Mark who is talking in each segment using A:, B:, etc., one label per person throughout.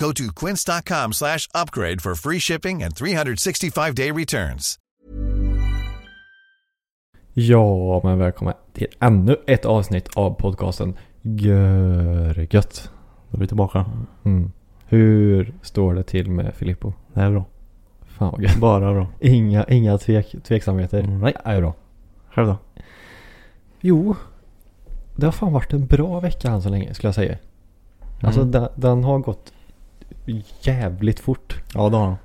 A: Go to quince.com slash upgrade for free shipping and 365-day returns.
B: Ja, men välkomna till ännu ett avsnitt av podcasten Görgött.
C: Då är vi tillbaka.
B: Mm. Hur står det till med Filippo?
C: Det är bra.
B: Fan vad gött.
C: Bara bra. Mm,
B: Inga, inga tvek, tveksamheter. Nej, det är bra.
C: Själv då?
B: Jo, det har fan varit en bra vecka än så länge skulle jag säga.
C: Mm.
B: Alltså den, den har gått jävligt fort.
C: Ja det har han.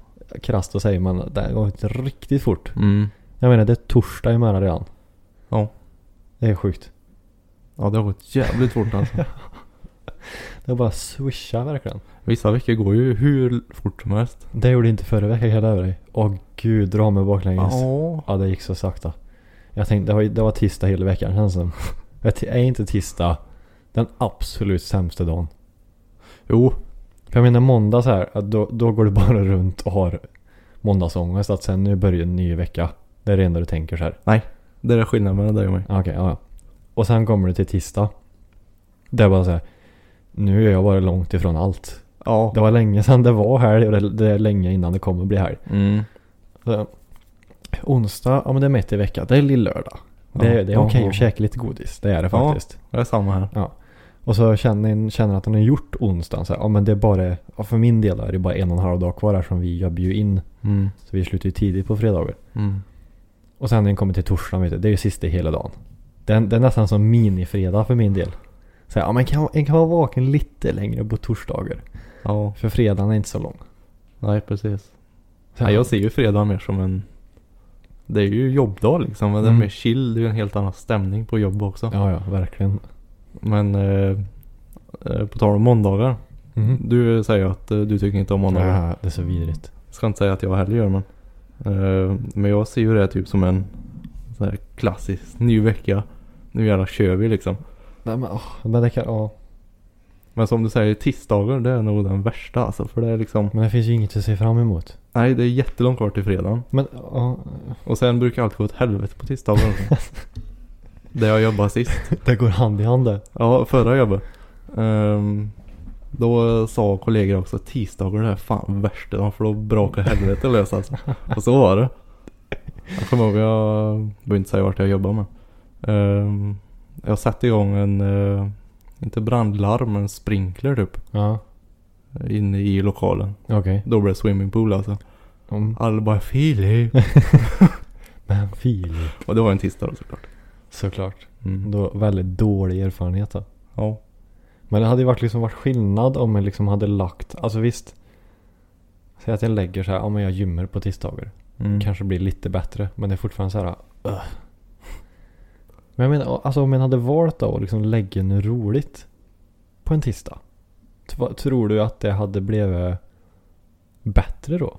B: Krasst att säga men det har gått riktigt fort.
C: Mm.
B: Jag menar det är torsdag imorgon redan.
C: Ja.
B: Det är sjukt.
C: Ja det har gått jävligt fort alltså.
B: Det har bara swishat verkligen.
C: Vissa veckor går ju hur fort som helst.
B: Det gjorde inte förra veckan, jag över dig. Åh gud, dra mig baklänges.
C: Ja.
B: Ja, det gick så sakta. Jag tänkte, det var, det var tisdag hela veckan känns det som. Jag t- Är inte tisdag den absolut sämsta dagen?
C: Jo.
B: För jag menar måndag så här, att då, då går du bara runt och har måndagsångest. Att sen nu börjar en ny vecka. Det är det enda du tänker så här. Ah,
C: Det är skillnaden mellan dig och mig.
B: Okej, ja, ja. Och sen kommer du till tisdag. Det är bara så här. Nu är jag bara långt ifrån allt.
C: Ja.
B: Det var länge sedan det var helg och det, det är länge innan det kommer bli helg.
C: Mm.
B: Så, onsdag, ja men det är mitt i veckan. Det är lill-lördag. Det, är- det är okej
C: Ja, ja.
B: att käka lite godis. Det är det
C: Ja.
B: faktiskt.
C: Det är samma här.
B: Och så känner en känner att den har gjort onsdagen. Så här, ja men det är bara, ja, för min del är det bara en och en halv dag kvar här som vi jobbar ju in.
C: Mm.
B: Så vi slutar ju tidigt på fredagar.
C: Mm.
B: Och sen när den kommer till torsdagen, vet du, det är ju sista hela dagen. Den, det är nästan som minifredag för min del. Så här, ja men kan, en kan vara vaken lite längre på torsdagar.
C: Ja.
B: För fredagen är inte så lång.
C: Nej precis.
B: Så här,
C: Nej, jag ser ju fredag mer som en... Det är ju jobbdag liksom. Men det
B: Mm.
C: är mer chill. Det är ju en helt annan stämning på jobb också.
B: Ja, ja, verkligen.
C: Men... Eh, eh, på tal om måndagar.
B: Mhm.
C: Du säger ju att eh, du tycker inte om måndagar.
B: Ja, det är så vidrigt.
C: Jag ska inte säga att jag heller gör men. eh, men jag ser ju det typ som en så här klassisk ny vecka. Nu jävlar kör vi liksom.
B: Nej, men, åh, men det kan, ja.
C: Men som du säger, tisdagar det är nog den värsta alltså. För det är liksom,
B: Men det finns ju inget att se fram emot.
C: nej det är jättelångt kvar till fredagen.
B: Men ja,
C: Och sen brukar allt gå åt helvete på tisdagar också. Där jag jobbade sist.
B: det går hand i hand det.
C: Ja, förra jobbet. Ehm, då sa kollegor också att tisdagar det är fan värsta dagen för då brakar helvete lös alltså. Och så var det. Jag kommer ihåg, jag behöver inte säga vart jag jobbar med. Ehm, jag satte igång en, eh, inte brandlarm men sprinkler typ.
B: Ja,
C: Inne i lokalen.
B: okej.
C: Då blev det swimmingpool alltså.
B: Mm.
C: Alla bara Filip.
B: Men Filip.
C: Och det var en tisdag då såklart.
B: Såklart.
C: Mm.
B: Då, väldigt dålig erfarenhet då.
C: Ja.
B: Men det hade ju varit, liksom varit skillnad om jag liksom hade lagt, alltså visst. Säg att jag lägger så här, ja men jag gymmar på tisdagar.
C: Mm.
B: Kanske blir lite bättre, men det är fortfarande så här. "Ugh." Men jag menar, alltså om man hade valt då att liksom lägga något roligt på en tisdag. tva- Tror du att det hade blivit bättre då?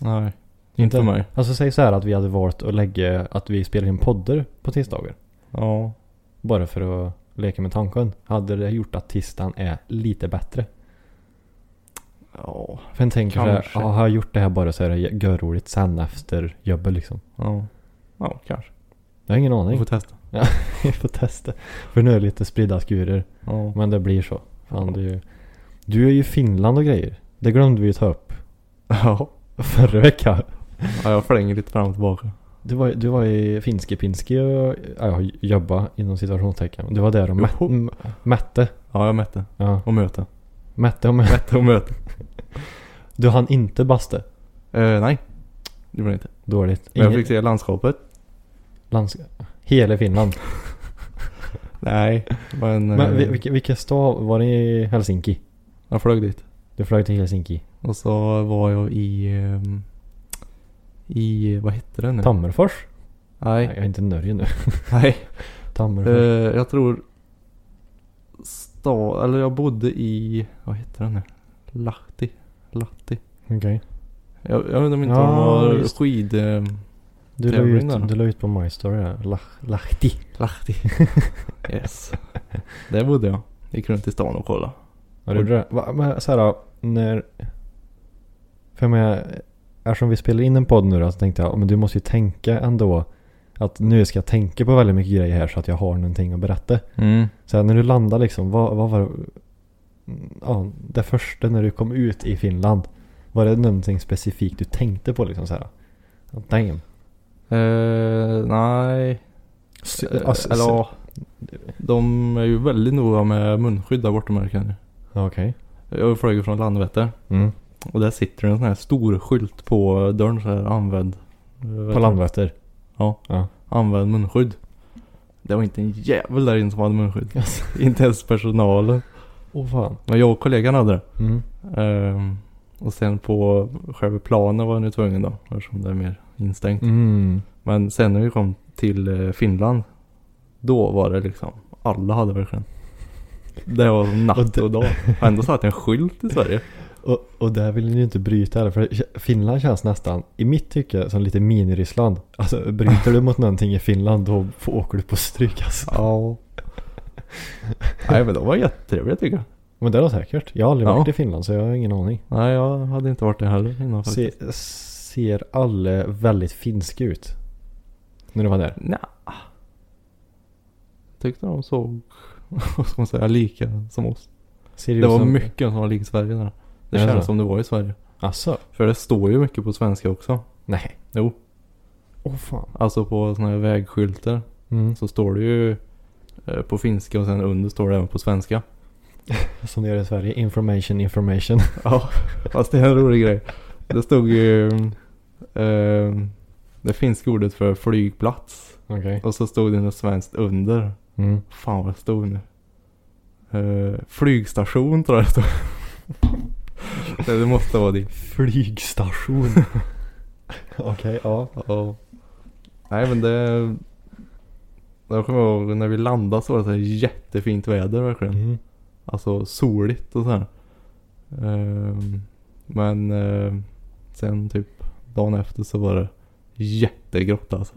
C: Nej. Inte för mig.
B: Alltså säg så här att vi hade valt att lägga att vi spelar in poddar på tisdagar.
C: Ja.
B: Bara för att leka med tanken. Hade det gjort att tisdagen är lite bättre?
C: Ja.
B: För en tänker så här,
C: Kanske.
B: ja, har jag gjort det här bara så är det görroligt sen efter jobbet liksom.
C: Ja. Ja, kanske.
B: Jag har ingen
C: Vi
B: aning.
C: får testa.
B: Jag får testa. För nu är det lite spridda skurer.
C: Ja.
B: Men det blir så. Fan, det är ju... Du är ju i Finland och grejer. Det glömde vi ju ta upp
C: Ja.
B: förra veckan.
C: Ja, jag flänger lite fram och tillbaka.
B: Du var, du var i Finske Pinske och ja, jobba inom situationstecken. Du var där och mä-
C: Joho.
B: m- mätte.
C: Ja, jag mätte.
B: Ja,
C: Och möte.
B: mätte om
C: Mätte och möte.
B: Du hann inte baste.
C: Eh, nej, det gjorde jag inte.
B: Dåligt.
C: Men jag
B: Ingen-
C: fick se landskapet.
B: lands... Hela Finland.
C: Nej, men,
B: Men
C: eh,
B: vi- vilka, vilka stad var det i Helsinki?
C: jag flög dit.
B: Du flög till Helsinki.
C: Och så var jag i... ehm, I... Vad hette det nu?
B: Tammerfors? Nej, jag
C: Nej.
B: är inte nöjd nu.
C: Nej.
B: Tammerfors.
C: Eh, jag tror... Stad... Eller jag bodde i... Vad hette det nu? Lahti. Lahti.
B: Okej. Eh,
C: Jag, jag undrar om inte
B: Ja,
C: de har
B: just.
C: skid... eh,
B: Du la ju
C: Tävling där.
B: ut, du la ut på My Story där. Lach- Lahti.
C: Lahti. yes. Där bodde jag. Gick runt i stan och kollade.
B: Ja, du gjorde det. Va, men så här då, när... För jag menar, eftersom vi spelar in en podd nu då, så tänkte jag, men du måste ju tänka ändå att nu ska jag tänka på väldigt mycket grejer här så att jag har någonting att berätta.
C: Mm.
B: Så här, när du landar liksom, vad, vad var det, ja, det första när du kom ut i Finland? Var det någonting specifikt du tänkte på liksom så här? Damn.
C: Eh, nej.
B: S-
C: Eh,
B: alltså,
C: Eller
B: s-
C: ja. De är ju väldigt noga med munskydd där borta märker jag nu.
B: Ja, Okej.
C: Jag flög från Landvetter.
B: Mm.
C: Och där sitter det en sån här stor skylt på dörren så här använd. eh,
B: På Landvetter.
C: Använd munskydd. Det var inte en jävel där inne som hade munskydd. inte ens personalen.
B: Åh fan.
C: Men jag och kollegan hade det.
B: Mm.
C: Ehm, och sen på själva planen var jag nu tvungen då. Eftersom det är mer instängt.
B: Mm.
C: Men sen när vi kom till eh, Finland. Då var det liksom. Alla hade verkligen. Det var som natt och dag. Och ändå satt en skylt i Sverige.
B: Och, och där vill ni ju inte bryta heller, för Finland känns nästan, i mitt tycke, som lite mini-Ryssland. Alltså bryter du mot någonting i Finland då får- åker du på stryk alltså.
C: Ja. Nej men de var jättetrevliga tycker jag.
B: Men det är nog säkert. Jag har aldrig
C: Ja.
B: varit i Finland så jag har ingen aning.
C: Nej jag hade inte varit det heller innan faktiskt.
B: Se, ser alla väldigt finska ut? När du var där?
C: Nja. Tyckte de såg, vad ska man säga, lika som oss.
B: Ser
C: Det
B: ut
C: var
B: som-
C: mycket som var lik Sverige där. Det
B: Är det
C: känns
B: så?
C: som det var i Sverige.
B: Alltså?
C: För det står ju mycket på svenska också.
B: Nej.
C: Jo,
B: Åh fan.
C: alltså på sådana här vägskyltar
B: Mm.
C: så står det ju eh, på finska och sen under står det även på svenska.
B: Som det gör i Sverige. Information, information.
C: Ja, fast det är en rolig grej. Det stod ju eh, det finska ordet för flygplats
B: Okej.
C: och så stod det något svenskt under.
B: Mm.
C: Fan vad det stod nu. Eh, flygstation tror jag det stod. Nej, det måste vara det.
B: Flygstation. Okej, ja.
C: Ja. Nej men det. Jag kommer ihåg när vi landade så var det så här jättefint väder verkligen.
B: Mm.
C: Alltså soligt och så här. Ehm, men eh, sen typ dagen efter så var det jättegrått alltså.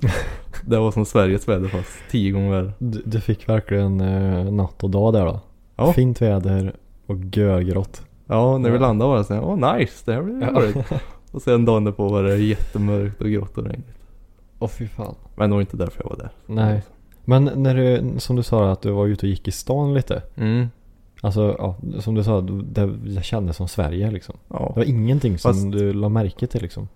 C: det var som Sveriges väder fast tio gånger värre.
B: Du, du fick verkligen eh, natt och dag där då?
C: Ja.
B: Fint väder och görgrått.
C: Ja, när vi
B: Ja.
C: landade var det såhär, åh nice, det här blir roligt. Och sen dagen därpå var det jättemörkt och grått och regnigt.
B: Åh fy fan.
C: Men det var inte därför jag var där.
B: Nej. Men när du, som du sa att du var ute och gick i stan lite.
C: Mm.
B: Alltså, ja, som du sa, det, det kändes som Sverige liksom. Det
C: Ja.
B: var ingenting som
C: Fast-
B: du la märke till liksom.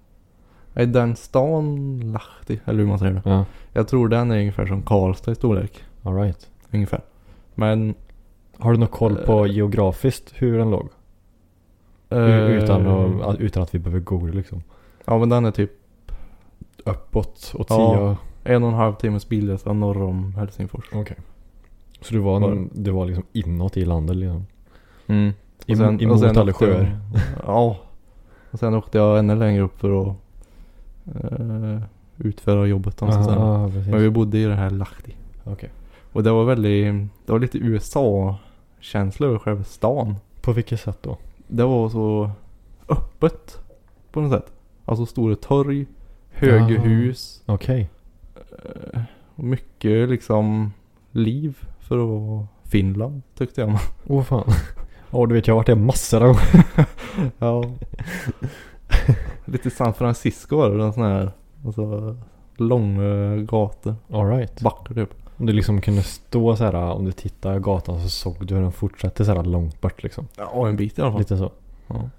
C: Nej, Den stan Lahti, eller hur man säger det.
B: Ja,
C: Jag tror den är ungefär som Karlstad i storlek.
B: alright.
C: Ungefär. Men...
B: Har du någon koll på
C: Eh.
B: geografiskt hur den låg? U-
C: eh,
B: Utan, att, att- utan att vi behöver googla liksom.
C: Ja men den är typ
B: Uppåt och
C: Ja.
B: tio.
C: en och en halv timmes bilresa norr om Helsingfors.
B: Okej. Så du var, en, du var liksom inåt i landet liksom?
C: Mm.
B: Emo- emot alla
C: åkte jag-
B: sjöar.
C: Ja. Och sen åkte jag ännu längre upp för att eh, utföra jobbet. om så att säga.
B: Ja, precis.
C: Men vi bodde i det här Lahti.
B: Okej.
C: Och det var väldigt, det var lite USA-känsla över själva stan.
B: På vilket sätt då?
C: Det var så öppet på något sätt. Alltså stora torg, höga
B: Aha.
C: hus
B: Okej.
C: eh, och mycket liksom liv för att vara Finland tyckte jag.
B: Åh fan. Ja du vet jag har varit där massor av gånger.
C: ja. lite San Francisco var det, en sån här alltså, långa gator,
B: Alright.
C: backar typ.
B: Om du liksom kunde stå så här om du tittar gatan så såg du hur den fortsatte så här långt bort liksom.
C: Ja, en bit i alla fall.
B: Lite så.
C: Ja.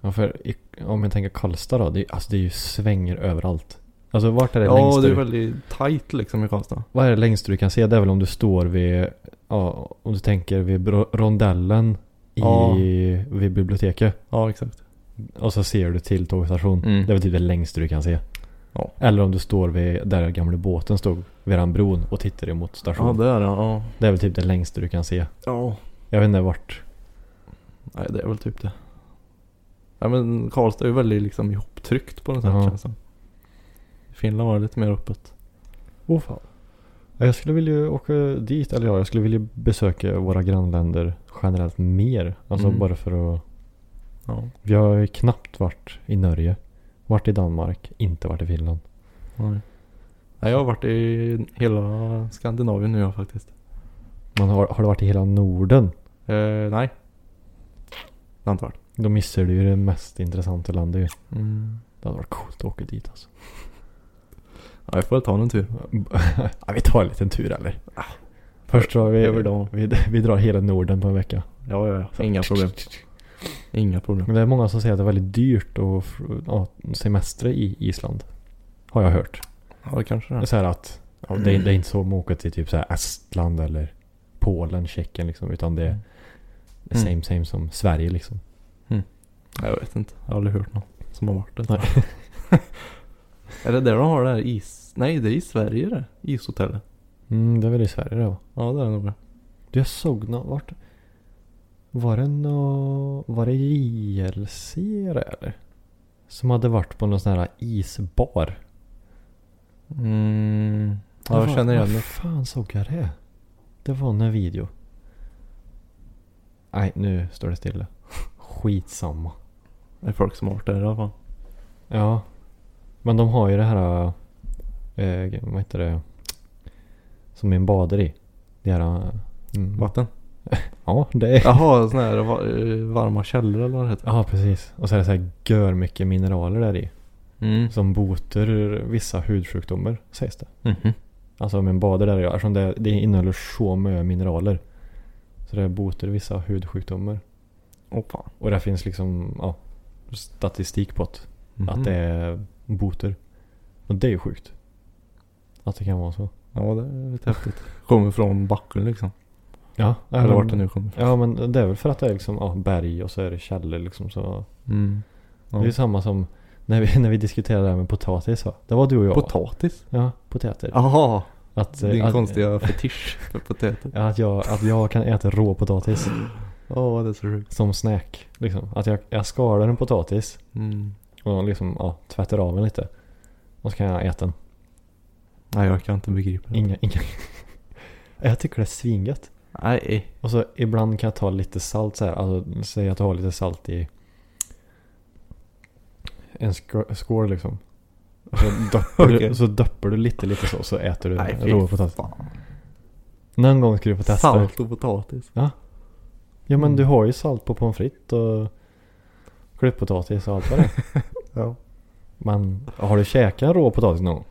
B: Ja, för i, om jag tänker Karlstad då. Det, är- alltså det är ju svänger överallt. Alltså vart är det
C: Ja,
B: längst?
C: det är
B: du,
C: väldigt tight liksom i Karlstad.
B: Vad är det längst du kan se? Det är väl om du står vid, ja om du tänker vid bro- rondellen i,
C: Ja.
B: vid biblioteket.
C: Ja, exakt.
B: Och så ser du till tågstation.
C: Mm.
B: Det är väl typ det längsta du kan se.
C: Ja.
B: Eller om du står vid där gamla båten stod. Vid den bron och tittar emot
C: Ja,
B: stationen.
C: där ja.
B: Det är väl typ det längsta du kan se.
C: Ja.
B: Jag vet inte vart.
C: Nej, det är väl typ det. Nej men Karlstad är ju väldigt liksom ihoptryckt på något sätt
B: Ja.
C: känns det som. I Finland var det lite mer öppet.
B: Åh fan. Ja, Jag skulle vilja åka dit, eller ja, jag skulle vilja besöka våra grannländer generellt mer. Alltså
C: Mm.
B: bara för att...
C: Ja.
B: Vi har ju knappt varit i Norge. Varit i Danmark, inte varit i Finland.
C: Nej. Nej, jag har varit i hela Skandinavien nu jag faktiskt.
B: Man har, har det varit i hela Norden?
C: Eh, nej. Det har inte varit.
B: Då missar du ju det mest intressanta landet ju.
C: Mm.
B: Det hade varit coolt att åka dit alltså.
C: Ja, jag får väl ta någon tur.
B: ja, vi tar en liten tur eller?
C: Ah.
B: Först drar vi,
C: Över dagen.
B: vi, vi drar hela Norden på en vecka.
C: Ja, ja, ja. Inga problem. Inga problem.
B: Men det är många som säger att det är väldigt dyrt att ja, semestra i Island. Har jag hört.
C: Ja, det kanske det
B: Det är
C: är.
B: så här att ja, det, är, det är inte som att åka till typ så här Estland eller Polen, Tjeckien liksom. Utan det är det är same
C: Mm.
B: same som Sverige liksom.
C: Nej, Jag vet inte. Jag har aldrig hört någon som har varit det.
B: Nej.
C: är det där de har det här is... Nej, det är i Sverige det. Ishotellet.
B: Mm, det är väl i Sverige det va?
C: Ja, det är det nog.
B: Du jag såg nå vart? Var det nå... Var det JLC det eller? Som hade varit på någon sån här isbar.
C: Mm. Ja,
B: Det
C: jag
B: var-
C: känner igen
B: Vad
C: det.
B: fan såg jag det? Det var en video. Nej, nu står det stilla. Skitsamma.
C: Det är folk som har varit där i alla fall.
B: Ja. Men de har ju det här... Eh, vad heter det? Som en bader i. Det här... Mm,
C: Vatten.
B: Ja, det är...
C: Jaha, sådana här va- eh, varma källor eller vad det heter.
B: Ja, precis. Och så är det så här gör mycket mineraler där i.
C: Mm.
B: Som botar vissa hudsjukdomar, sägs det.
C: Mhm.
B: Alltså om en badar där, ja, eftersom det, det innehåller så mycket mineraler. Så det botar vissa hudsjukdomar.
C: Åh fan.
B: Och det finns liksom ja, statistik på att,
C: Mhm.
B: att det är boter. Och det är ju sjukt. Att det kan vara så.
C: Ja, det är lite häftigt. Kommer från backen liksom.
B: Ja,
C: Eller vart det nu kommer ifrån.
B: Ja men det är väl för att det är liksom, ja, berg och så är det källor liksom. Så
C: Mm. Ja.
B: Det är ju samma som när vi, när vi diskuterade det här med potatis va? Det var du och jag. va?
C: Potatis?
B: ja, potäter.
C: Jaha,
B: att, eh,
C: din
B: att,
C: konstiga fetisch för potäter.
B: Att jag, att jag kan äta råpotatis
C: Ja, det är så sjukt.
B: som snack. Liksom. Att jag, jag skalar en potatis
C: Mm.
B: och liksom, ja, tvättar av den lite. Och så kan jag äta den.
C: Nej, jag kan inte begripa det.
B: Inga, inga. jag tycker det är svingött.
C: Nej.
B: Och så ibland kan jag ta lite salt så här. Alltså, säg att jag har lite salt i en skå- skål liksom. Så doppar,
C: Okej.
B: du, så doppar du lite lite så, så äter du
C: Nej, fy
B: råpotatis.
C: fan.
B: Någon gång ska du få testa.
C: Salt och potatis.
B: Ja men
C: Mm.
B: du har ju salt på pommes frites och klipppotatis och allt vad det är.
C: Ja.
B: Men har du käkat rå potatis någon gång?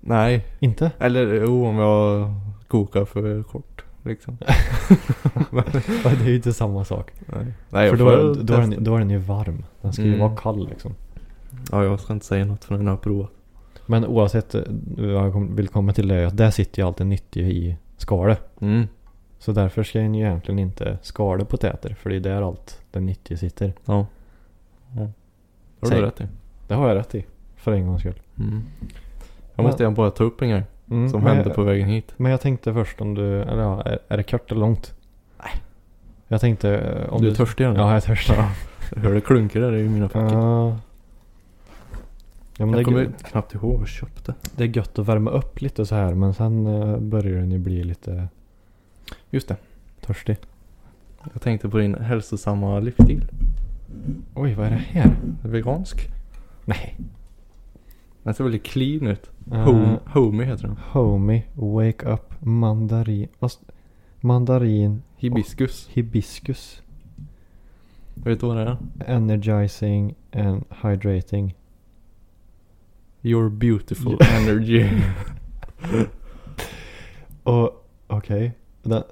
C: Nej,
B: Inte?
C: eller jo om jag kokar för kort liksom.
B: Ja, det är ju inte samma sak.
C: Nej, Nej jag
B: För då
C: får
B: är, då, är
C: testa.
B: den, då är den ju varm. Den ska ju
C: Mm.
B: vara kall liksom.
C: Ja, jag ska inte säga något förrän jag har provat.
B: Men oavsett eh, vad jag kom- vill komma till det är att där sitter ju allt det nyttiga i skalet.
C: Mm.
B: Så därför ska en ju egentligen inte skala potäter för det är där allt det nyttiga sitter.
C: Ja. ja. Har
B: Säg.
C: du rätt i.
B: Det har jag rätt i. För en gångs skull.
C: Mm. Jag
B: Men-
C: måste igen bara ta upp en grej
B: Mm,
C: som
B: men
C: hände
B: jag-
C: på vägen hit.
B: Men jag tänkte först om du, eller ja, är, är det kort eller långt? Nej. Jag tänkte eh, om
C: du är törstig eller?
B: Ja, jag är törstig.
C: Ja. Jag hör det klunkar där i mina fickor.
B: Ja. Ja, men det,
C: jag
B: är
C: kommer
B: gött,
C: knappt ihåg vad jag köpte.
B: det är gött att värma upp lite så här men sen eh, börjar den ju bli lite
C: Just det.
B: törstig.
C: Jag tänkte på din hälsosamma livsstil.
B: Oj, vad är det här?
C: Vegansk.
B: Mm. Nej.
C: Den ser väldigt clean ut.
B: Eh,
C: Home, homey heter den.
B: Homie, wake up, mandarin. vad st- Mandarin,
C: Hibiskus.
B: hibiskus.
C: Vet du vad det är?
B: Energizing and hydrating.
C: Your beautiful energy.
B: Och okej. Den-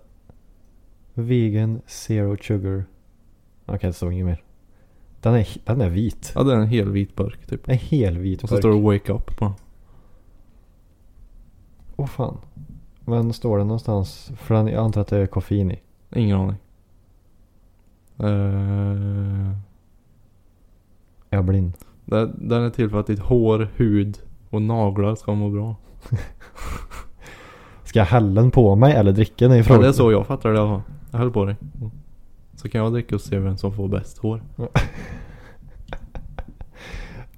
B: Vegan zero sugar. Okej, det stod inget mer. Den är, den är vit.
C: ja, det är en hel vit burk typ.
B: En hel vit
C: Och så står det Wake Up på den.
B: Åh fan. Men står det någonstans? För den, jag antar att det är koffein i.
C: Ingen aning. Eh,
B: Är jag blind?
C: den, den är till för att ditt hår, hud och naglar ska må bra.
B: Ska jag hälla den på mig eller dricka den
C: Ja,
B: ifrån?
C: det är så jag fattar det i alla fall. Jag höll på dig. Så kan jag dricka och se vem som får bäst hår.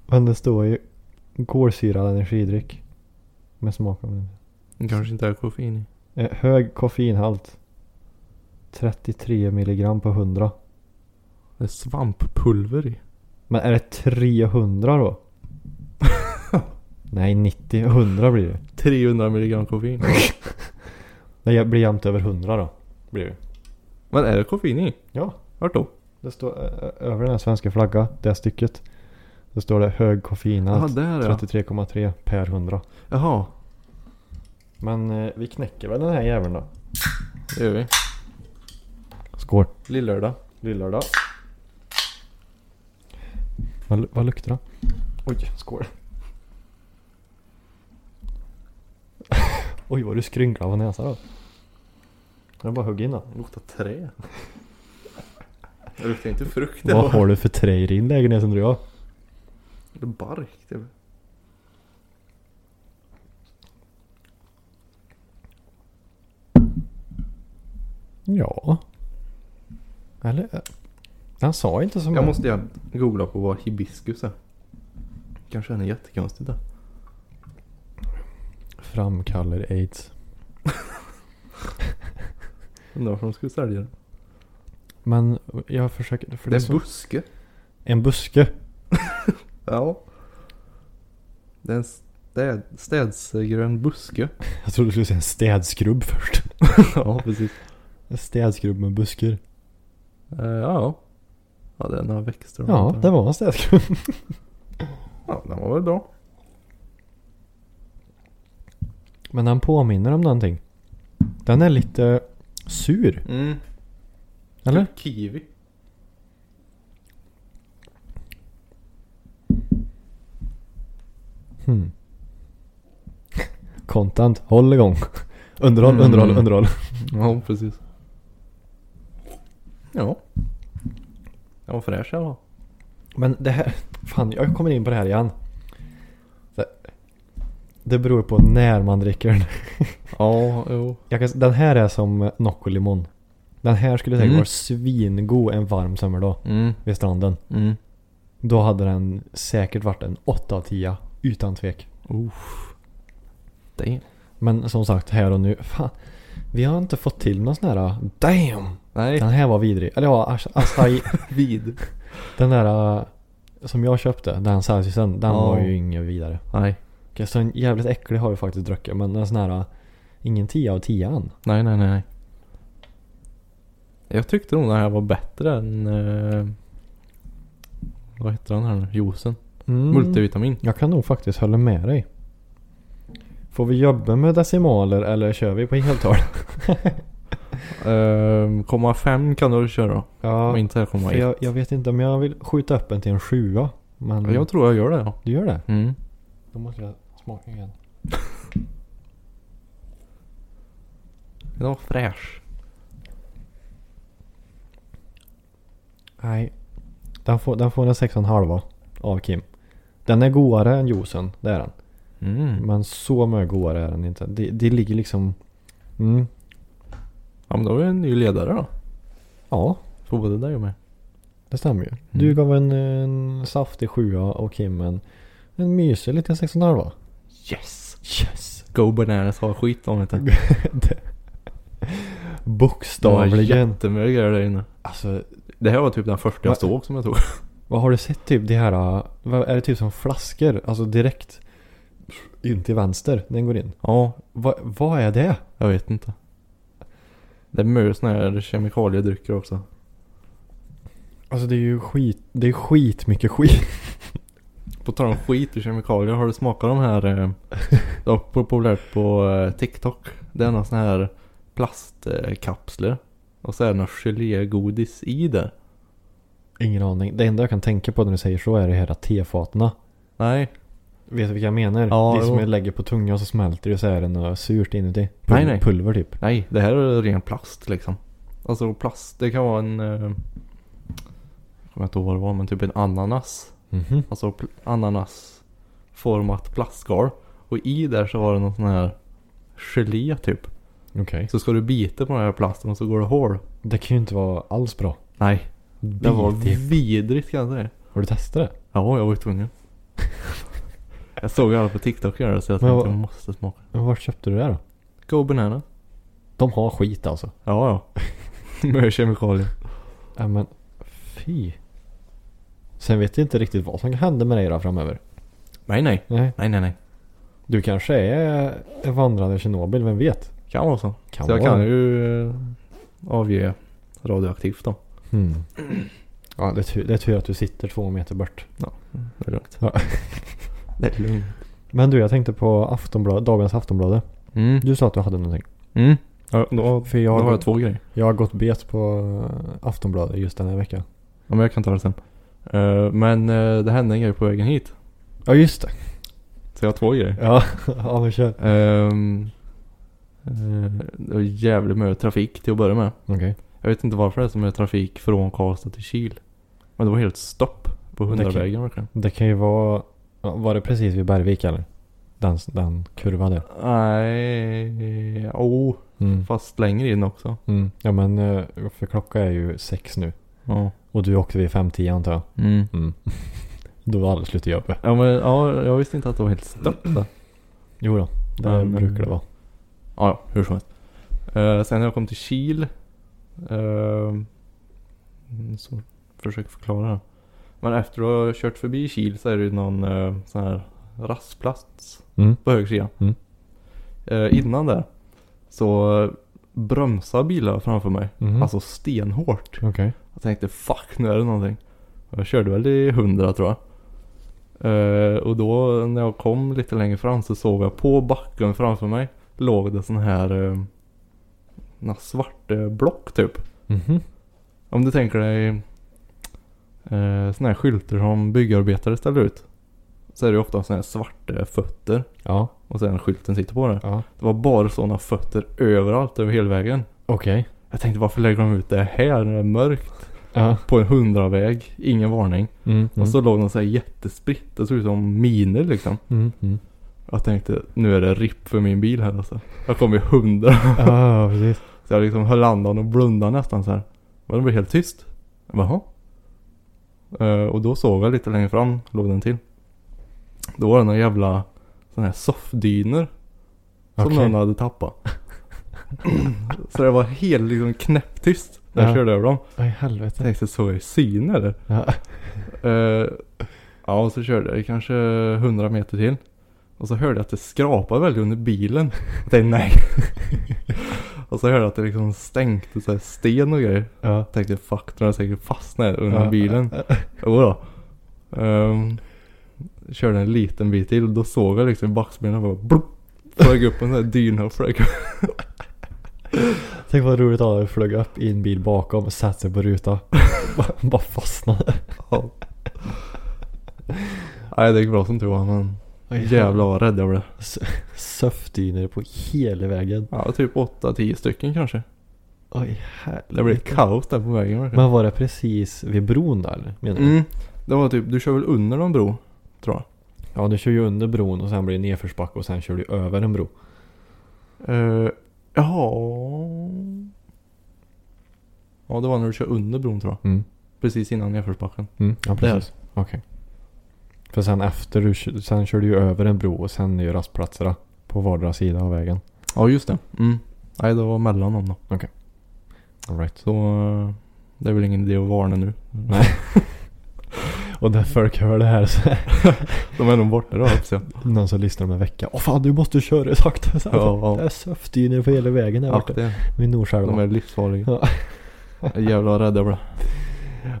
B: Men det står ju kolsyrad energidryck. Med smak av
C: Det kanske inte är koffein i.
B: eh, Hög koffeinhalt. 33 milligram på 100.
C: Det är svamppulver i.
B: Men är det 300 då? Nej, 90. 100 blir det.
C: 300 milligram koffein.
B: Nej, jag blir jämnt över 100 då. Blir det.
C: Men är det koffein i?
B: Ja.
C: Vart då?
B: Det står ö- ö- över den här svenska flaggan, det här stycket. Då står det hög
C: Jaha,
B: koffeinhalt.
C: där ja.
B: 33,3 per 100.
C: Jaha,
B: Men eh, vi knäcker väl den här jäveln då.
C: det gör vi.
B: Skål.
C: Lillördag.
B: Lillördag. Vad, vad luktar det? Oj, skål. Oj, vad du skrynklade på näsan då. Jag bara hugg in då.
C: Det luktar trä. Det luktar inte frukt. Det
B: Vad
C: var
B: har du för trä i din lägenhet undrar jag?
C: det är bark. Det...
B: Ja. Eller? eh, Han sa inte som
C: Jag måste ju googla på vad hibiskus är. Kanske är det jättekonstigt det.
B: framkallar aids.
C: Undrar varför de skulle sälja det.
B: Men jag försöker... För det
C: Det är en
B: så,
C: buske.
B: en buske.
C: Ja. Det är en städ, städsgrön buske.
B: Jag trodde du skulle säga en städskrubb först.
C: ja, precis.
B: En städskrubb med buskar.
C: Eh, ja. Ja, det är några växter. och
B: Ja,
C: sånt där.
B: det var en städskrubb.
C: Ja, den var väl bra.
B: Men den påminner om någonting. Den är lite sur,
C: Mm. Typ
B: eller?
C: Kiwi.
B: Hmm. Content, håll igång. Underhåll,
C: Mm.
B: underhåll, underhåll.
C: Ja, precis. Ja. Den var fräsch i alla fall.
B: Men det här, fan jag kommer in på det här igen. Så- Det beror på när man dricker den.
C: Ja, jo.
B: Jag kan, den här är som Nocco Limon. Den här skulle säkert
C: Mm.
B: vara svingod en varm sommardag
C: Mm,
B: vid stranden.
C: mm.
B: Då hade den säkert varit en 8 av 10 utan tvek.
C: Damn.
B: Men som sagt här och nu, fan. Vi har inte fått till någon sån här damn.
C: Nej.
B: Den här var vidrig. Eller ja, ass- acai,
C: Vid.
B: den där äh, som jag köpte, den salsisen, den
C: Ja.
B: var ju ingen vidare.
C: Nej.
B: Okej, så en jävligt äcklig har vi faktiskt druckit, men en sån här, äh, ingen 10 av 10 an.
C: Nej, nej, nej, nej. Jag tyckte nog den här var bättre än... Eh, vad heter den här nu? Juicen?
B: Mm.
C: Multivitamin.
B: Jag kan nog faktiskt hålla med dig. Får vi jobba med decimaler eller kör vi på heltal?
C: Eh, komma fem kan du köra.
B: ja,
C: Om inte komma
B: för
C: ett.
B: jag, jag vet inte om jag vill skjuta upp en till en sjua. Men
C: Ja, Jag tror jag gör det ja.
B: du gör det?
C: Mm.
B: Då måste jag smaka igen.
C: Den var fräsch.
B: Nej. Den får, den får en 6,5 av Kim. Den är godare än juicen, det är den.
C: Mm.
B: Men så mycket godare är den inte. Det, det ligger liksom... Mm,
C: Ja men då är vi en ny ledare då.
B: ja,
C: För både dig och mig.
B: det stämmer ju. Du
C: Mm.
B: gav en, en saftig 7 och Kim en, en mysig liten 6,5
C: Yes!
B: Yes!
C: Go Bananas har skit om inte. Det var
B: Bokstavligen.
C: jättemycket grejer där inne.
B: Alltså,
C: Det här var typ den första
B: Va-
C: jag såg som jag tog.
B: vad har du sett typ de här... äh, Vad är det typ som flaskor? Alltså direkt in till vänster när den går in.
C: Ja,
B: Va, vad är det?
C: jag vet inte. Det är mycket såna här kemikaliedrycker också.
B: Alltså det är ju skit, det är skit mycket skit.
C: På tal om skit och kemikalier, har du smakat de här? eh, Det var populärt på eh, TikTok. Det är några såna här plastkapslar. Och så är det något gelégodis i det.
B: Ingen aning. Det enda jag kan tänka på när du säger så är det här tefaterna.
C: Nej,
B: Vet du vilka jag menar?
C: Ja,
B: det är som
C: jo.
B: jag lägger på tungan och så smälter det och så är det något surt inuti. Pul-
C: Nej, nej.
B: Pulver typ.
C: nej, det här är ren plast liksom. Alltså plast, det kan vara en... eh, Jag kommer inte ihåg vad det var, men typ en ananas.
B: Mhm.
C: Alltså pl- ananasformat plastskal. Och i där så var det någon sån här gelé typ.
B: Okej.
C: Så ska du bita på den här plasten och så går det hål.
B: Det kan ju inte vara alls bra.
C: Nej, det var
B: Bitig.
C: vidrigt kan jag säga.
B: Har du testat det?
C: Ja, jag var ju tvungen. jag såg alla på TikTok göra det så jag
B: Men
C: tänkte
B: vad-
C: jag måste smaka.
B: Men Vart köpte du det då?
C: Go banana.
B: De har skit alltså.
C: Ja, ja. Med kemikalier.
B: Ja men fy. Sen vet jag inte riktigt vad som kan hända med dig då framöver.
C: Nej, nej.
B: Nej.
C: Nej, nej, nej.
B: Du kanske är en vandrande Tjernobyl, vem vet?
C: Kan vara så.
B: Kan
C: så jag
B: vara.
C: kan ju eh, avge radioaktivt då.
B: Mm. Ja, det är, tur, det är tur att du sitter två meter bort.
C: Det är lugnt.
B: Ja.
C: Det är lugnt.
B: Men du, jag tänkte på Aftonbladet, dagens Aftonbladet.
C: Mm.
B: Du sa att du hade någonting.
C: Mm. Ja, då,
B: För jag,
C: då har jag två grejer.
B: jag har gått bet på eh, Aftonbladet just den här veckan.
C: Ja, men jag kan ta det sen. Eh, men eh, det hände en grej på vägen hit.
B: Ja, just det.
C: Så jag har två grejer.
B: Ja, ja men kör.
C: Ehm, eh, det var jävligt mycket trafik till att börja med.
B: Okej.
C: Jag vet inte varför det är så mycket trafik från Karlstad till Kil. Men det var helt stopp på
B: Det kan-
C: 100-vägen verkligen.
B: Det kan ju vara... ja, Var det precis vid Bergvik eller? Den, den kurvan där.
C: Nej, oh,
B: Mm.
C: fast längre in också.
B: Mm. Ja men eh, för klockan är ju sex nu.
C: Ja.
B: Och du åkte vid fem tio antar jag.
C: Mm.
B: Mm. Då var alla slut i jobbet.
C: Ja, men, ja, jag visste inte att det var helt stopp där.
B: Jo då, det
C: Men-
B: brukar det vara.
C: Ja, ja, hur som helst. Eh, sen när jag kom till Kil. ehm, så försöker förklara det. Men efter att ha kört förbi Kil så är det ju någon eh, sån här rastplats
B: Mm.
C: på höger sida.
B: Mm.
C: Eh, innan där så eh, bromsar bilar framför mig.
B: Mhm.
C: Alltså stenhårt.
B: Okej.
C: Jag tänkte fuck nu är det någonting. Jag körde väl i 100 tror jag. Eh, och då när jag kom lite längre fram så såg jag på backen framför mig. Låg det sån här uh, na, svarta block typ.
B: Mhm.
C: Om du tänker dig uh, såna här skyltar som byggarbetare ställer ut. Så är det ju ofta såna här svarta fötter.
B: Ja.
C: Och sen skylten sitter på det.
B: ja.
C: Det var bara såna fötter överallt över hela vägen.
B: Okej.
C: Jag tänkte varför lägger de ut det här när det är mörkt?
B: Ja.
C: På en hundraväg. Ingen varning.
B: Mm. Mm.
C: Och så låg de så här jättespritt. Det såg ut som miner liksom.
B: Mm. Mm.
C: Jag tänkte nu är det ripp för min bil här alltså. Jag kom i hundra.
B: Ja, precis.
C: Så jag liksom höll andan och blundade nästan så här. Men det blev helt tyst. Jag bara, Jaha. Eh, och då såg jag lite längre fram låg den till. Då var det några jävla sådana här soffdyner. Som
B: Okej.
C: någon hade tappat. så det var helt liksom knäpptyst när jag
B: Ja.
C: körde över dem.
B: Vad i
C: Jag
B: helvete.
C: tänkte såg jag i syn eller?
B: Ja.
C: Eh, ja, och så körde jag kanske 100 meter till. Och så hörde jag att det skrapade väldigt under bilen. Jag tänkte nej. och så hörde jag att det liksom stänkte så här sten och grejer.
B: Ja.
C: Jag tänkte fuck, den har säkert fastnat här under
B: Ja.
C: bilen. Jodå. Ehm, körde en liten bit till och då såg jag liksom i backspegeln och bara blup, flög upp en sån här dyna flög.
B: Tänk vad roligt att du flög upp i en bil bakom och satte sig på rutan. Bara- Bara fastnade.
C: Ja. Nej det gick bra som tur var men jävlar vad rädd jag blev.
B: Söftdyner på hela vägen.
C: Ja typ 8-10 stycken kanske.
B: Oj,
C: Det blev
B: helvete.
C: kaos där på vägen verkligen.
B: Men var det precis vid bron där eller? Menar du?
C: Mm. Det var typ, du kör väl under någon bro? Tror jag.
B: Ja, du kör ju under bron och sen blir det nedförsbacke och sen kör du över en bro.
C: Uh, ja. Ja det var när du kör under bron tror jag.
B: Mm.
C: Precis innan nedförsbacken.
B: Ja, precis. Okej. För sen efter du kö- sen kör du ju över en bro och sen är ju rastplatserna på vardera sida av vägen.
C: Ja just det. Mm. Nej det var mellan dem då.
B: All right.
C: Så eh, det är väl ingen idé att varna nu.
B: Och när folk hör det här så är
C: De är nog borta då hoppas jag.
B: det någon som lyssnar om en vecka. Åh fan, du måste köra sakta. Så här.
C: Ja, ja.
B: Det är söftdyner på hela vägen där borta.
C: Akta er.
B: Vid Norrskärvan.
C: De är livsfarliga.
B: Ja.
C: Jag är Jävlar vad rädd jag blev.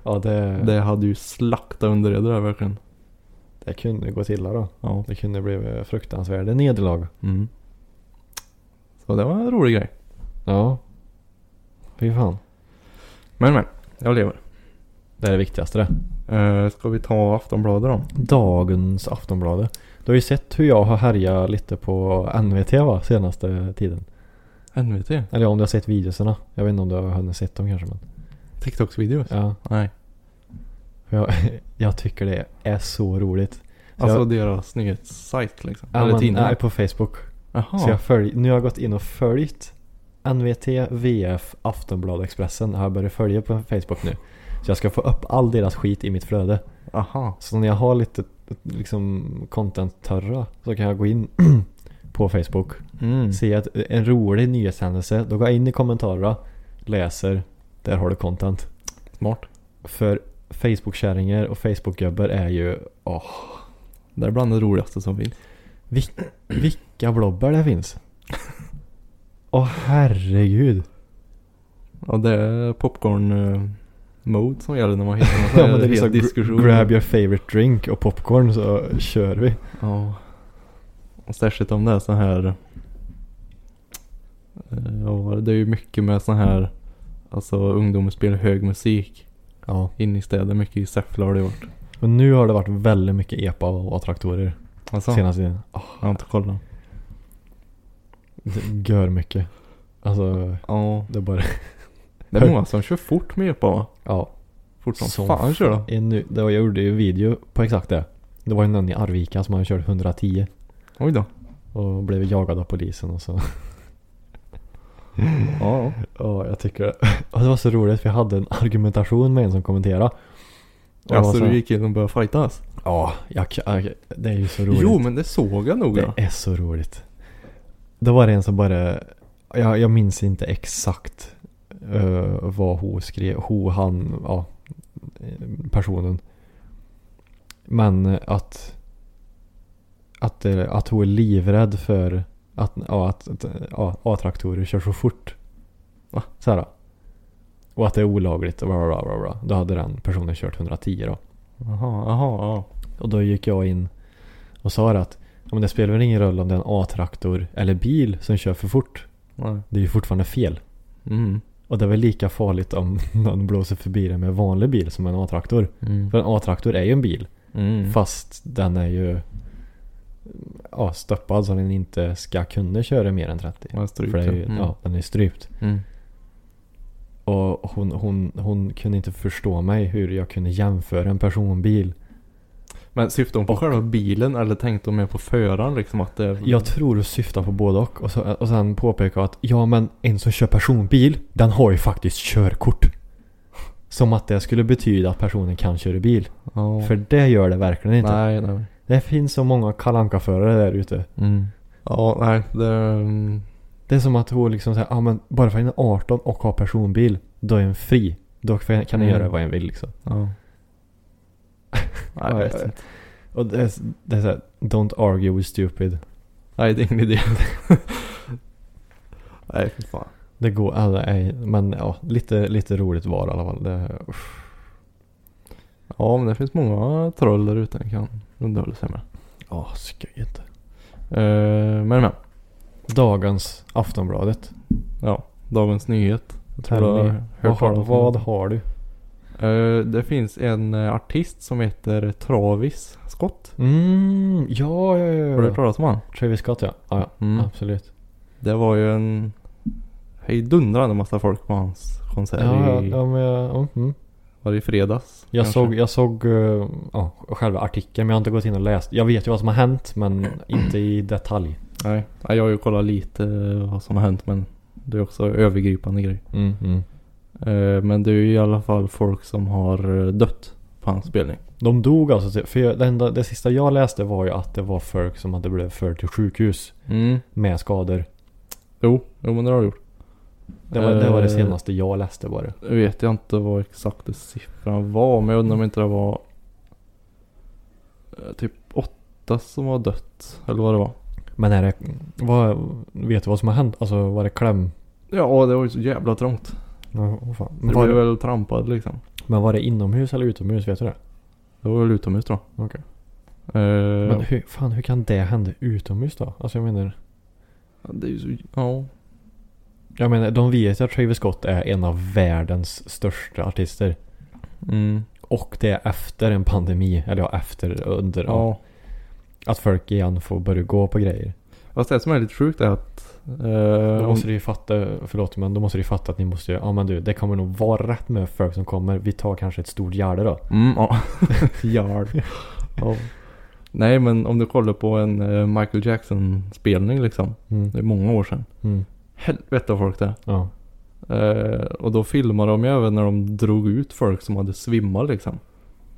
B: Ja, det, det.
C: Det hade ju slaktat under det där verkligen.
B: det kunde gå till då.
C: Ja.
B: Det kunde bli fruktansvärda nederlag.
C: Mm. Så det var en rolig grej.
B: Ja. Fy fan.
C: Men men, jag lever.
B: Det är det viktigaste det.
C: Uh, ska vi ta Aftonbladet då?
B: Dagens Aftonbladet. Du har ju sett hur jag har härjat lite på NVT va, senaste tiden.
C: NVT?
B: Eller ja, om du har sett videoserna. Jag vet inte om du har hunnit sett dem kanske men.
C: TikToks-videos?
B: Ja.
C: Nej.
B: För Jag, jag tycker det är så roligt. Så
C: Alltså
B: jag,
C: deras nyhetssajt liksom?
B: Ja,
C: Eller
B: men-
C: tidning?
B: Nej, på Facebook. Så
C: Jaha.
B: jag följ, nu har jag gått in och följt NVT, VF, Aftonbladet, Expressen har jag börjat följa på Facebook nu. Så jag ska få upp all deras skit i mitt flöde.
C: Aha.
B: Så när jag har lite liksom content-törra så kan jag gå in på Facebook
C: Mm.
B: Ser jag ett- en rolig nyhetshändelse, då går jag in i kommentarerna, läser, där har du content.
C: Smart.
B: För Facebook-kärringar och Facebook-gubbar är ju, åh,
C: Det är bland det roligaste som finns.
B: Vil- vilka blobber det finns. Åh herregud.
C: Ja, det är popcorn eh, mode som gäller när man hittar någon sån
B: Ja,
C: här
B: men det är
C: het
B: liksom
C: diskussion.
B: gr- grab your favorite drink och popcorn så kör vi.
C: Ja. Och särskilt om det är så här. eh, Ja, det är ju mycket med så här. Alltså ungdomar spelar hög musik
B: Ja.
C: inne i städer. Mycket i Säffle har det varit.
B: Och nu har det varit väldigt mycket epa och och traktorer
C: Alltså,
B: senaste tiden. Ah, Åh,
C: Jag har inte kollat.
B: det gör mycket. Alltså,
C: Ja.
B: det är bara...
C: Det är många som kör fort med epa va?
B: Ja.
C: Fort som, fan kör de.
B: är nu, det var, jag gjorde ju en video på exakt det. Det var ju någon i Arvika som hade kört 110
C: Oj då.
B: och blev jagad av polisen och så.
C: Ja.
B: Ja, jag tycker det. Och det var så roligt för jag hade en argumentation med en som kommenterade. Och
C: ja.
B: jag var
C: Alltså
B: så här,
C: du gick in och började fightas?
B: Ja, jag, kan- jag, det är ju så roligt.
C: Jo men det såg jag nog
B: Det
C: ja.
B: är så roligt. Det var det en som bara, jag, jag minns inte exakt eh, vad hon skrev, hon, han, ja, eh, personen. Men eh, att, att, det- att hon är livrädd för att, ja, att, att ja, A-traktorer kör så fort.
C: Va?
B: Så här. Och att det är olagligt och bla bla bla. bla. Då hade den personen kört 110 då.
C: Jaha, jaha, ja.
B: Och då gick jag in och sa att ja, men det spelar väl ingen roll om det är en A-traktor eller bil som kör för fort.
C: Nej.
B: Det är ju fortfarande fel.
C: Mm.
B: Och det är väl lika farligt om någon blåser förbi det med vanlig bil som en A-traktor.
C: Mm.
B: För en A-traktor är ju en bil.
C: Mm.
B: Fast den är ju ja, stoppad så den inte ska kunna köra mer än 30.
C: Ja, stryk,
B: För det är ju,
C: mm.
B: ja, den är ju strypt.
C: Mm.
B: Och hon, hon, hon kunde inte förstå mig hur jag kunde jämföra en personbil.
C: Men syftade hon på själva bilen eller tänkte hon mer på föraren liksom att det...
B: Jag tror du syftar på både och. Och, så, och sen påpekar jag att ja men en som kör personbil, den har ju faktiskt körkort. Som att det skulle betyda att personen kan köra bil.
C: Ja.
B: För det gör det verkligen inte.
C: Nej, nej.
B: Det finns så många kalanka förare där ute.
C: Mm. Ja, nej. Det... mm,
B: Det är som att hon liksom säger, ja men bara för att en är 18 och har personbil, då är en fri. Då kan kan den
C: Mm.
B: göra vad en vill liksom.
C: Ja. nej, jag vet inte.
B: Och det är, det är såhär, don't argue with stupid.
C: Nej, det är ingen idé. nej, för fan.
B: Det går, alla är, men ja, lite, lite roligt var det i alla fall. Det, usch.
C: Ja, men det finns många troll där ute man kan underhålla sig med.
B: Ja, skoj inte.
C: Eh, men men.
B: Dagens Aftonbladet.
C: Ja, Dagens Nyhet. Jag tror
B: Tell
C: du har
B: me. Vad
C: talas
B: har,
C: om
B: vad
C: den.
B: har du?
C: Eh, det finns en eh, artist som heter Travis Scott.
B: Mm, ja, ja, ja.
C: Har
B: ja.
C: du hört talas om han?
B: Travis Scott ja. Ah, Ja, ja.
C: Mm.
B: absolut.
C: Det var ju en hejdundrande massa folk på hans konsert
B: Ja, ja,
C: i,
B: ja, men, jag- mm, mm.
C: var det i fredags.
B: Jag
C: kanske?
B: såg, jag såg eh, ja, själva artikeln men jag har inte gått in och läst. Jag vet ju vad som har hänt men inte i detalj.
C: Nej, ja, jag har ju kollat lite eh, vad som har hänt men det är också övergripande grej.
B: Mm, mm.
C: Eh, Men det är ju i alla fall folk som har eh, dött på hans spelning.
B: De dog alltså. För jag, det, enda, det sista jag läste var ju att det var folk som hade blivit förda till sjukhus
C: Mm.
B: med skador.
C: Jo, jo men det har de gjort.
B: Det var, det var det
C: Eh,
B: senaste jag läste var det.
C: Nu vet jag inte vad exakt det siffran var men jag undrar om inte det var eh, typ åtta som har dött eller vad det var.
B: Men är det, vad, vet du vad som har hänt? Alltså var det kläm?
C: Ja det var ju så jävla trångt.
B: Ja, åh fan.
C: Det
B: Men var
C: blev
B: det,
C: väl trampad liksom.
B: Men var det inomhus eller utomhus? Vet du det?
C: Det var väl utomhus då.
B: Okej.
C: Eh,
B: Men hur, fan, hur kan det hända utomhus då? Alltså jag menar...
C: Det är ju så... Ja.
B: Jag menar, de vet ju att Travis Scott är en av världens största artister.
C: Mm.
B: Och det är efter en pandemi, eller ja, efter, under, ja.
C: Ja.
B: att folk igen får börja gå på grejer.
C: Fast det som är lite sjukt är
B: Då
C: att... Eh, om,
B: måste du ju fatta, förlåt men då måste du ju fatta att ni måste ju, ja men du, det kommer nog vara rätt med folk som kommer. Vi tar kanske ett stort gärde då.
C: mm, ja. Yard. ja. Nej men om du kollar på en eh, Michael Jackson-spelning liksom.
B: Mm.
C: Det är många år sedan.
B: Mm.
C: Helvete vad folk det är.
B: Ja.
C: Eh, och då filmade de ju även när de drog ut folk som hade svimmat liksom.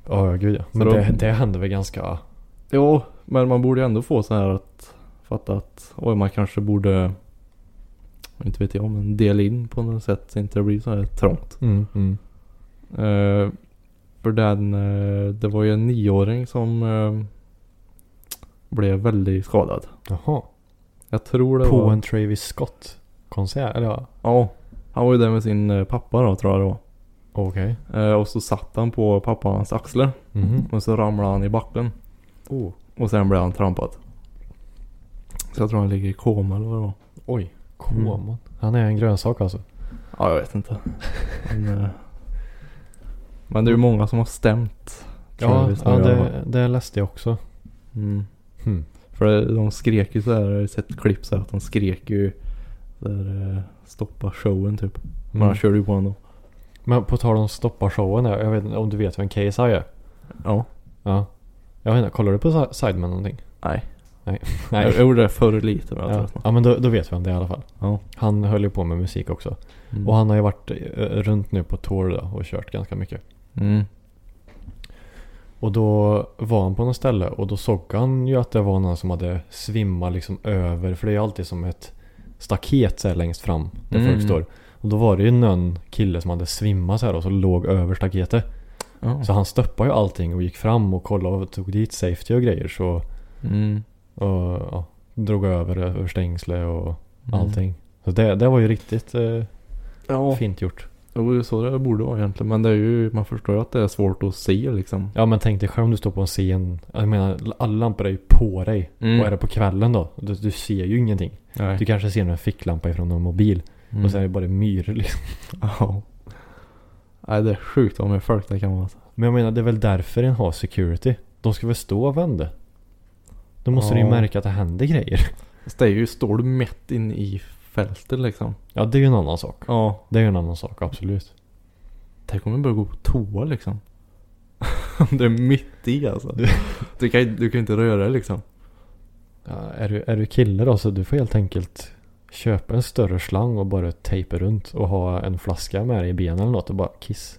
B: Ja, ja, gud ja. Men
C: då-
B: det, det hände väl ganska...
C: Jo, men man borde ju ändå få så här att fatta att oj, man kanske borde, inte vet jag, men dela in på något sätt så inte det blir så här trångt.
B: Mm, mm.
C: Eh, för den, eh, det var ju en nioåring som eh, blev väldigt skadad.
B: Jaha.
C: Jag tror det
B: På
C: var...
B: en Travis Scott-konsert? Eller ja.
C: Ja. Han var ju där med sin eh, pappa då tror jag det var.
B: Okej.
C: Eh, och så satt han på pappans axlar.
B: Mhm.
C: Och så ramlade han i backen.
B: Oh.
C: Och sen blev han trampad. Så jag tror han ligger i koma eller vad det var.
B: Oj.
C: Mm.
B: Koman. Han är en grönsak alltså.
C: Ja, jag vet inte. Men, eh, men det är ju många som har stämt.
B: Ja,
C: Travis
B: ja
C: nu i alla
B: det, det läste jag också.
C: Mm.
B: Hmm.
C: För det- de skrek ju så här, jag har sett klipp så här att de skrek ju så här, eh, stoppa showen typ. Men
B: Mm.
C: han körde ju på ändå.
B: Men på tal om stoppa showen här. Jag vet inte om du vet vem KSI är?
C: Ja.
B: Ja. Jag vet inte, kollar du på Si- Sidemen någonting?
C: Nej. Jag,
B: Nej.
C: jag gjorde det förr lite men jag
B: Ja,
C: tröttnade.
B: ja men då, då vet vi om det i alla fall.
C: Ja.
B: Han höll ju på med musik också.
C: Mm.
B: Och han har ju varit eh, runt nu på tour då och kört ganska mycket.
C: Mm.
B: Och då var han på något ställe och då såg han ju att det var någon som hade svimmat liksom över. För det är ju alltid som ett staket så här längst fram där
C: Mm.
B: folk står. Och då var det ju någon kille som hade svimmat så här och så låg över staketet.
C: Ja.
B: Så han stoppade ju allting och gick fram och kollade och tog dit safety och grejer. Så
C: Mm.
B: och, ja, drog över över stängsle och
C: Mm.
B: allting. Så det, det var ju riktigt eh,
C: Ja.
B: fint gjort.
C: Det var ju så det borde vara egentligen. Men det är ju, man förstår ju att det är svårt att se liksom.
B: Ja men tänk dig själv om du står på en scen. Jag menar alla lampor är ju på dig.
C: Mm.
B: Och är det på kvällen då? Du, du ser ju ingenting.
C: Nej.
B: Du kanske ser en ficklampa ifrån en mobil.
C: Mm.
B: Och sen är det bara myror liksom.
C: Ja. Nej det är sjukt vad med folk det kan vara. alltså.
B: Men jag menar det är väl därför en har security. De ska väl stå och vända. Då måste
C: Ja.
B: du ju märka att det händer grejer.
C: Fast det är ju, står du mätt in i fältet liksom.
B: Ja det är ju en annan sak.
C: Ja.
B: Det är ju en annan sak, absolut.
C: Tänk om vi börjar gå på toa liksom. det är mitt i alltså.
B: Du-
C: Du kan, ju- du kan ju inte röra dig liksom.
B: Ja, är, du, är du kille då så du får helt enkelt köpa en större slang och bara tejpa runt och ha en flaska med dig i benen eller något och bara kiss.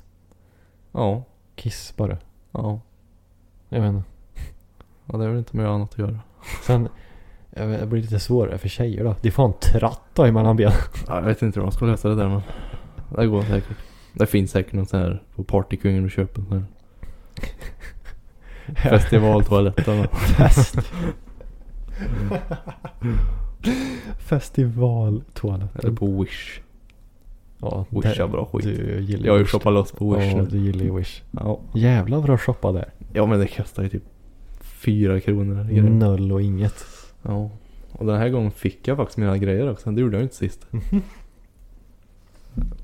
C: Ja.
B: Kiss bara.
C: Ja.
B: Jag vet inte.
C: ja det är väl inte mer annat att göra.
B: Sen, jag vet, det blir lite svårare för tjejer då. Det är fan tratt då emellan benen.
C: Ja, jag vet inte hur man ska lösa det där men. Det går säkert. Det finns säkert någon sån här på Partykungen och köper en sån här festivaltoalett eller något.
B: Fest. Festivaltoaletter.
C: Eller på Wish.
B: Ja,
C: Wish
B: där-
C: är bra skit.
B: Du gillar
C: Jag har ju
B: Wish.
C: shoppat loss på Wish
B: Ja,
C: nu.
B: du gillar ju Wish.
C: Ja.
B: Jävlar vad du har shoppat där.
C: ja men det kostar ju typ fyra kronor. eller grejer.
B: Noll och inget.
C: Ja. Och den här gången fick jag faktiskt mina grejer också. Det gjorde jag ju inte sist.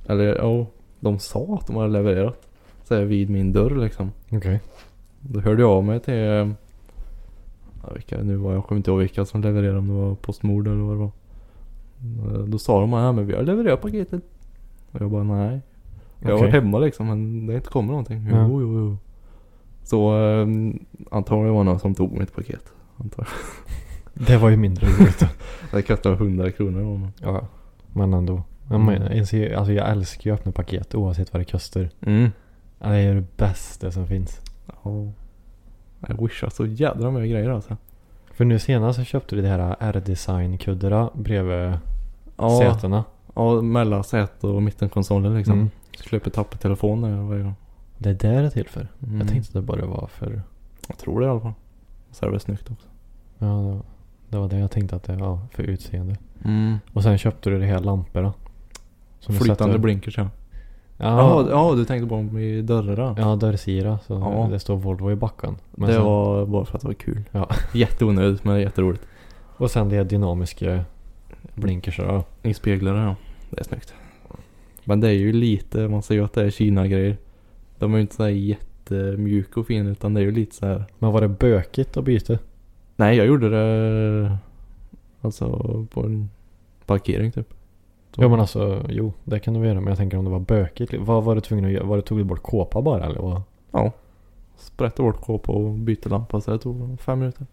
C: Eller ja, de sa att de hade levererat. Så här vid min dörr liksom.
B: Okej.
C: Då hörde jag av mig till... eh, Ja, vilka det nu var. Jag kommer inte ihåg vilka som levererade. Om det var Postnord eller vad det var. Eh, Då sa de ja men vi har levererat paketet. Och jag bara nej. Jag har
B: Okej.
C: varit hemma liksom men det har inte kommit någonting. Jo,
B: Ja.
C: jo, jo. Så eh, antagligen var det någon som tog mitt paket. Antagligen.
B: Det var ju mindre roligt.
C: Det kostade 100 kronor. då, men-
B: ja, men ändå. Jag,
C: Mm.
B: menar, ens- alltså jag älskar ju att öppna paket oavsett vad det kostar.
C: Mm.
B: Ja, Det är det bästa som finns.
C: Ja. Jag wishar så jädra mycket grejer alltså.
B: För nu senast så köpte du det här R-design-kuddarna bredvid sätena.
C: ja mellan sätet och mittenkonsolen liksom.
B: Mm.
C: Så Slipper tappa telefonen varje gång.
B: Det är där det är till för.
C: Mm.
B: Jag tänkte att det bara var för...
C: Jag tror det i alla fall. Och Så är det väl snyggt också.
B: Ja, det var- det var det jag tänkte att det var för utseende. Och sen köpte du de här lamporna. Som du
C: Mm. Flytande
B: sätter-
C: blinkers ja.
B: Ja,
C: Jaha,
B: ja,
C: ja du tänkte på dem i dörrarna.
B: ja dörrsira. Så
C: Ja.
B: det står Volvo i backen. Men
C: det
B: sen-
C: var bara för att det var kul.
B: Ja.
C: Jätteonödigt men jätteroligt.
B: Och sen det är dynamiska blinkersrör.
C: I speglare ja. Det är snyggt. Men det är ju lite, man ser ju att det är Kina-grejer. De är ju inte så här jättemjuka och fina utan det är ju lite så här
B: Men var det bökigt att byta?
C: Nej, jag gjorde det alltså på en parkering typ.
B: Ja men alltså, jo det kan du väl göra. Men jag tänker om det var bökigt. Vad var du tvungen att göra? Var det, tog du bort kåpa bara eller? Vad?
C: Sprätta bort kåpa och byta lampa så det tog fem minuter.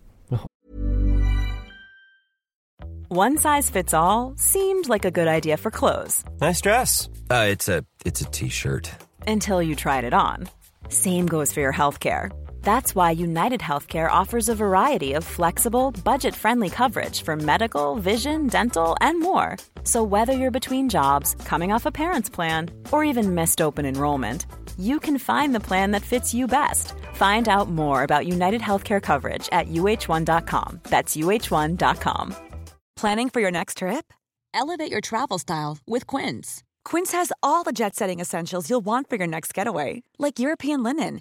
D: One size fits all seemed like a good idea for clothes
E: Nice dress. Uh, it's a it's a t-shirt.
D: until you tried it on. Same goes for your healthcare. That's why United Healthcare offers a variety of flexible, budget friendly coverage for medical, vision, dental, and more. So, whether you're between jobs, coming off a parent's plan, or even missed open enrollment, you can find the plan that fits you best. Find out more about United Healthcare coverage at uh1.com. That's uh1.com. Planning for your next trip?
F: Elevate your travel style with Quince.
D: Quince has all the jet setting essentials you'll want for your next getaway, like European linen,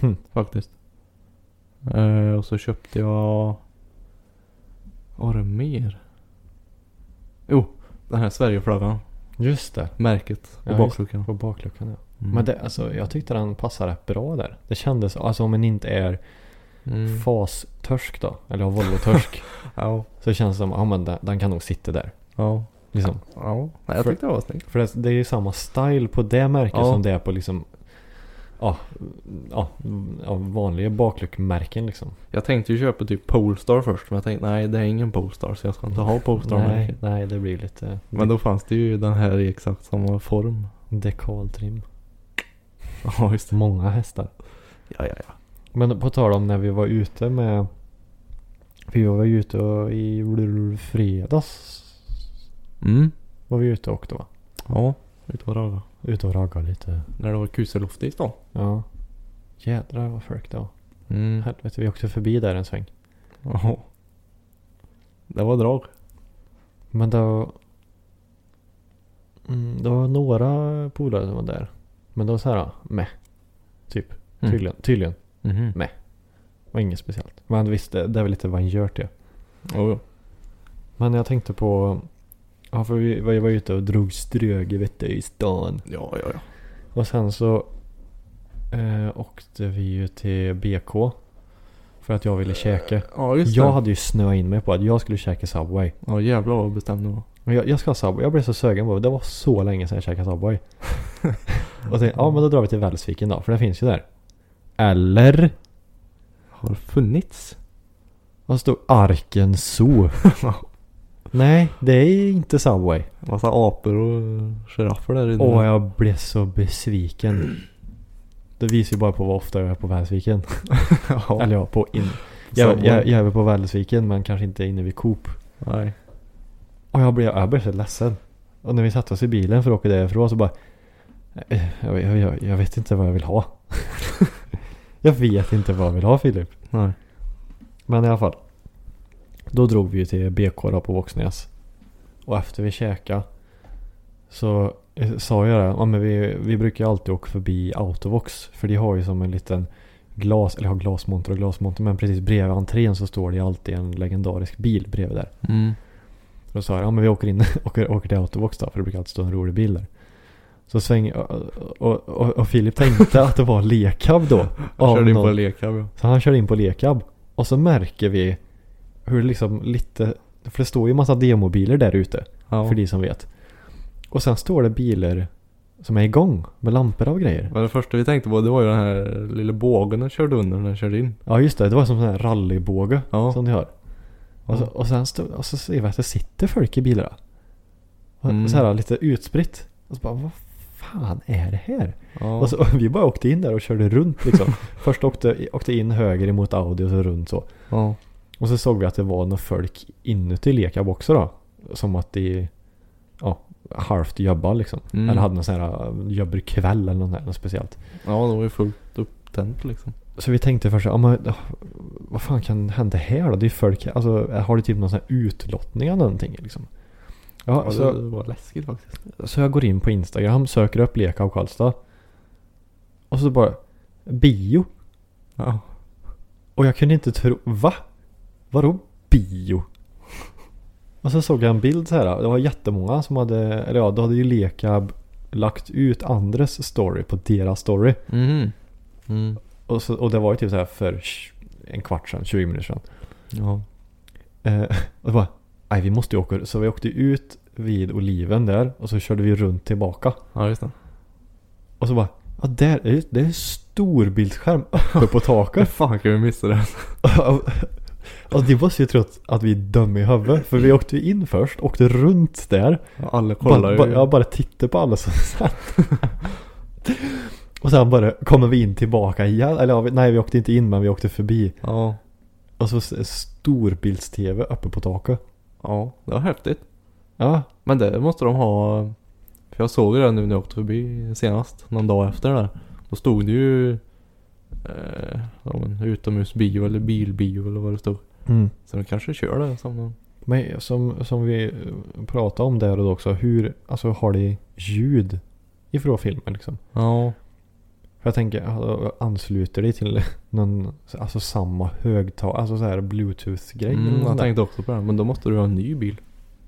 B: Hm.
C: Faktiskt. Eh, och så köpte jag... Vad var det mer? Jo, den här Sverigeflaggan.
B: Just det.
C: Märket
B: Ja,
C: på
B: just-
C: bakluckan.
B: På bakluckan ja.
C: Mm.
B: Men det, alltså, jag tyckte den passade rätt bra där. Det kändes, alltså om man inte är
C: Mm.
B: fastörsk då, eller har volvotörsk.
C: Ja.
B: så känns det som, ja men den, den kan nog sitta där.
C: Ja.
B: Liksom.
C: Ja. Nej, jag
B: För-
C: tyckte det var snyggt.
B: För det, det är ju samma style på det märket
C: Ja.
B: som det är på liksom Ja, ja, ja vanliga bakluckmärken liksom.
C: Jag tänkte ju köpa typ Polestar först. Men jag tänkte nej det är ingen Polestar så jag ska inte ha
B: Nej,
C: Polestar-märket.
B: nej, det blir lite
C: Men då fanns det ju den här i exakt samma form.
B: dekaltrim.
C: Ja just det.
B: Många hästar.
C: Ja ja ja.
B: Men på tal om när vi var ute med... Vi var ju ute och i fredags.
C: Mm.
B: Var vi ute och åkte va?
C: Ja. Ute och raga.
B: Ute och raggade lite.
C: När det var kuseloft i stan.
B: Ja. Jädrar vad folk det var.
C: Mm.
B: Helvete, vi åkte förbi där en sväng.
C: Ja. Det var drag.
B: Men det var... Mm, det var några polare som var där. Men det var så här, meh. Typ.
C: Mm.
B: Tydligen. Tydligen.
C: Mm.
B: Var inget speciellt. Men visst, det, det är väl lite vad en gör till.
C: Jo, jo.
B: Men jag tänkte på... Ja, för vi, vi var ute och drog ströge vet du, i stan.
C: Ja, ja, ja.
B: Och sen så eh, åkte vi ju till BK. För att jag ville käka.
C: Ja, just
B: Jag
C: det.
B: hade ju snöat in mig på att jag skulle käka Subway.
C: Ja, jävlar vad bestämd du var.
B: Men Jag, jag ska ha Subway. Jag blev så sugen på det. Det var så länge sedan jag käkade Subway. och tänkte, ja men då drar vi till Välsviken då. För den finns ju där. Eller?
C: Har funnits?
B: Vad stod Arken Zoo? Nej, det är inte Subway.
C: Massa apor och giraffer där inne.
B: Åh, jag blev så besviken. Det visar ju bara på vad ofta jag är på Välsviken.
C: ja.
B: Eller ja, på in... Jag,
C: Subway.
B: jag, jag är väl på Välsviken men kanske inte inne vid Coop.
C: Nej.
B: Och jag blev, jag blev så ledsen. Och när vi satte oss i bilen för att åka därifrån så bara... eh, Jag, jag, jag, jag vet inte vad jag vill ha. jag vet inte vad jag vill ha Filip.
C: Nej.
B: Men i alla fall. Då drog vi ju till BK då på Våxnäs. Och efter vi käkade så eh, sa jag det. Ja, men vi, vi brukar ju alltid åka förbi Autovox. För de har ju som en liten glas, eller har glasmonter och glasmonter. Men precis bredvid entrén så står det ju alltid en legendarisk bil bredvid där.
C: Mm.
B: Då sa jag, ja men vi åker in åker, åker till Autobox då, för det brukar alltid stå en rolig bil där. Så sväng, och, och, och, och Filip tänkte att det var Lekab då.
C: Jag
B: av
C: körde in på
B: någon.
C: en lekhall, ja.
B: så han körde in på Lekab. Och så märker vi hur det liksom lite, för det står ju en massa demobiler där ute,
C: ja.
B: för de som vet. Och sen står det bilar som är igång med lampor och grejer.
C: Men det första vi tänkte på det var ju den här lilla bågen den körde under när den körde in.
B: Ja just det, det var som en sån här rallybåge
C: Ja.
B: som ni har. Och, så,
C: Ja.
B: och sen stod, och så ser vi att det sitter folk i bilarna. Och
C: Mm.
B: Så här lite utspritt. Och så bara, vad fan är det här?
C: Ja.
B: Och så, och vi bara åkte in där och körde runt liksom. Först åkte, åkte in höger emot Audi och så runt så.
C: ja.
B: Och så såg vi att det var några folk inuti Lekab också då. Som att de, ja, halvt jobba liksom.
C: Mm.
B: Eller hade någon sån här jobberkväll eller något, där, något speciellt.
C: ja, det var ju fullt upptänt liksom.
B: Så vi tänkte först, ja, men, ah, vad fan kan hända här då? Det är folk, alltså, har det typ någon sån här utlottning eller någonting liksom? Ja,
C: Ja, det,
B: så,
C: det var läskigt faktiskt.
B: så jag går in på Instagram, söker upp Leka och Karlstad. Och så bara, bio.
C: Ja.
B: Och jag kunde inte tro, va? Vadå bio? Och så såg jag en bild så här. det var jättemånga som hade, eller ja, då hade ju Lekab lagt ut andres story på deras story.
C: Mm. Mm.
B: Och, så, och det var ju typ så här för tj- en kvart sedan, 20 minuter sedan.
C: Ja.
B: Eh, och då bara, nej vi måste ju åka. Så vi åkte ut vid Oliven där och så körde vi runt tillbaka.
C: Ja, just det.
B: Och så bara, ja där, är ju- det är s- storbildsskärm uppe på
C: Hur
B: taket.
C: fan kan vi missa det?
B: alltså de måste ju tro att, att vi är dumma i huvudet. För vi åkte ju in först, åkte runt där.
C: Alla kollar
B: bara,
C: ju.
B: bara, jag bara tittar på alla som satt. och sen bara kommer vi in tillbaka igen. Eller ja, vi- nej vi åkte inte in men vi åkte förbi.
C: Ja.
B: Och så s- storbilds-tv uppe på taket.
C: Ja, det var häftigt.
B: Ja,
C: Men det måste de ha. För jag såg ju det nu när jag åkte förbi senast. Någon dag efter där. Då stod det ju eh, ja, men utomhusbio eller bilbio eller vad det stod.
B: mm.
C: Så de kanske kör det som de...
B: men som, som vi eh, pratade om där och då också. Hur, alltså har de ljud ifrån filmen liksom?
C: Ja.
B: För jag tänker, alltså, ansluter det till någon, alltså samma högtalare, alltså så här bluetooth-grej? eller
C: Mm,
B: något
C: jag
B: sånt där.
C: tänkte också på det. Men då måste du ha en ny bil.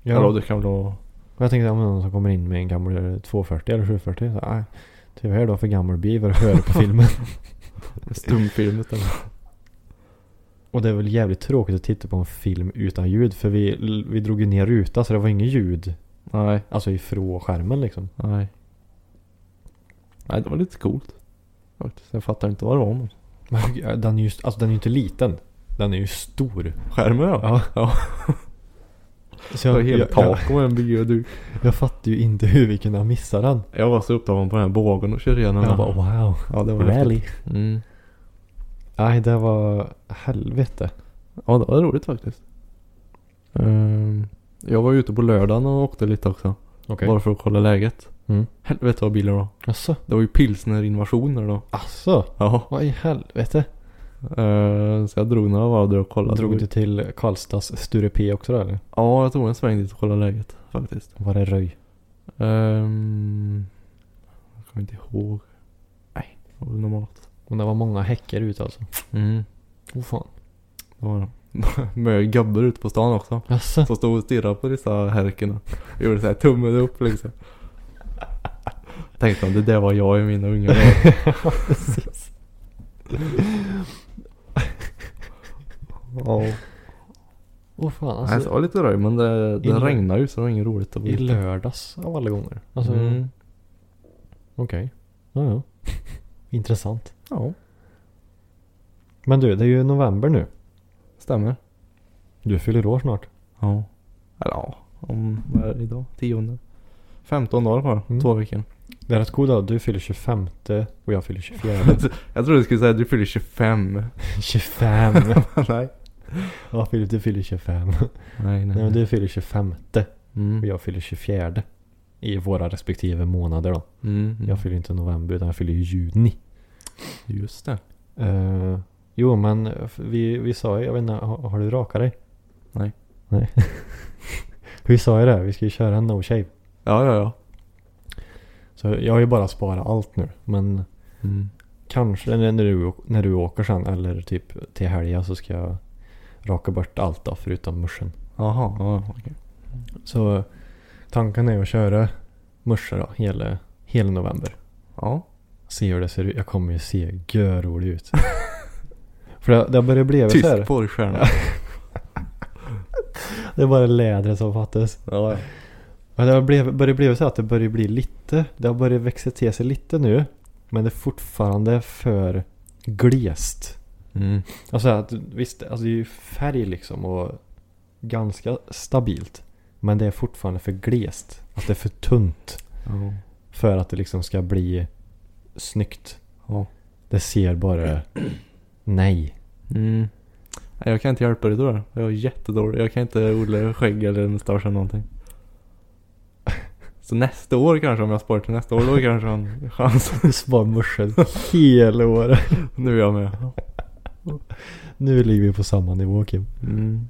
C: Ja. Eller
B: ja.
C: det kan väl vara...
B: Och jag tänkte om någon som kommer in med en gammal 240 eller 740. Så, "Ah, nej, tyvärr då för gammal bil vad du hör på filmen.
C: Stumfilm utan...
B: Och det är väl jävligt tråkigt att titta på en film utan ljud. För vi, vi drog ju ner rutan så det var inget ljud.
C: Nej,
B: Alltså ifrån skärmen liksom.
C: nej. Nej, det var lite coolt. Faktiskt. Jag fattar inte vad det var om.
B: Men hur- den är ju alltså, den är ju inte liten. Den är ju stor.
C: Skärmen ja.
B: Ja.
C: ja.
B: Så
C: Det var
B: jag,
C: helt
B: jag, jag,
C: tak om en bioduk.
B: jag fattar ju inte hur vi kunde ha missat den.
C: Jag var så upptagen på den här bågen och körde igenom.
B: Jag
C: Jag
B: bara
C: bara,
B: wow.
C: ja det var
B: Rally.
C: häftigt. Mm.
B: Nej, det var helvete.
C: Ja det var roligt faktiskt. Ehm, jag var ute på lördagen och åkte lite också.
B: Okej.
C: Bara för att kolla läget.
B: Mm.
C: Helvete vad bilar då.
B: Asså?
C: Det var ju pilsnerinvasioner då.
B: Asså?
C: Ja.
B: Vad i helvete?
C: Ehm, så jag drog några varv där och kollade.
B: Drog du till Karlstads Sture P också då eller?
C: Ja jag tog en sväng dit och kollade läget faktiskt.
B: Var det röj?
C: Ehm, jag kommer inte ihåg. Nej, det var väl normalt.
B: Men det var många häckar ute alltså.
C: Mm.
B: Åh fan.
C: Det var det. Med gubbar ute på stan också.
B: Jaså?
C: Som stod och stirrade på dessa härken och gjorde så här tummen upp liksom. Tänkte om det där var jag i mina unga dagar.
B: Precis.
C: Ja.
B: Åh fan
C: Nej, så
B: alltså.
C: det var lite röj men det, det
B: I-
C: regnade ju så det var inget roligt att vara
B: I
C: ute.
B: lördags av alla gånger. Alltså
C: Mm.
B: okej. Ja, ja. Intressant.
C: Ja,
B: Men du, det är ju november nu.
C: stämmer.
B: Du fyller år snart.
C: Ja. Mm. Eller ja, om vad är det idag? Tionde? 15 dagar kvar.
B: Mm.
C: Två veckor.
B: Det är rätt god dag. Du fyller 25 och jag fyller 24.
C: Jag trodde du skulle säga att du fyller 25.
B: 25!
C: nej.
B: Ja Filip, du fyller 25.
C: Nej, nej.
B: Nej men du fyller 25
C: Mm.
B: och jag fyller 24. I våra respektive månader då.
C: Mm.
B: Jag fyller inte november utan jag fyller ju juni.
C: Just det.
B: Eh, jo, men f- vi, vi sa ju, jag vet inte, har, har du rakat dig?
C: Nej.
B: Nej. vi sa ju det, vi ska ju köra en no shave.
C: Ja, ja, ja.
B: Så jag har ju bara sparat allt nu. Men
C: Mm.
B: kanske när du, när du åker sen eller typ till helgen så ska jag raka bort allt då förutom muschen.
C: Jaha, ja, okej.
B: Så tanken är att köra musche då hela, hela november.
C: Ja.
B: Se hur det ser ut. Jag kommer ju se görrolig ut. För det, det börjar bli så här.
C: Tyst porrstjärna.
B: Det är bara lädret som fattas.
C: Ja, ja.
B: Men det har blev- börjar bli så att det börjar bli lite, det har börjat växa till sig lite nu. Men det är fortfarande för glest.
C: Mm.
B: Alltså att, visst, alltså det är ju färg liksom och ganska stabilt. Men det är fortfarande för glest. Att det är för tunt
C: Ja.
B: för att det liksom ska bli snyggt.
C: Ja.
B: Det ser bara nej.
C: Mm. Nej, jag kan inte hjälpa dig då. Jag är jättedålig. Jag kan inte odla skägg eller mustasch eller någonting. Så nästa år kanske om jag sparar till nästa år då kanske jag har en chans.
B: Du sparar muschen hela året.
C: Nu är jag med.
B: Nu ligger vi på samma nivå Kim.
C: Mm.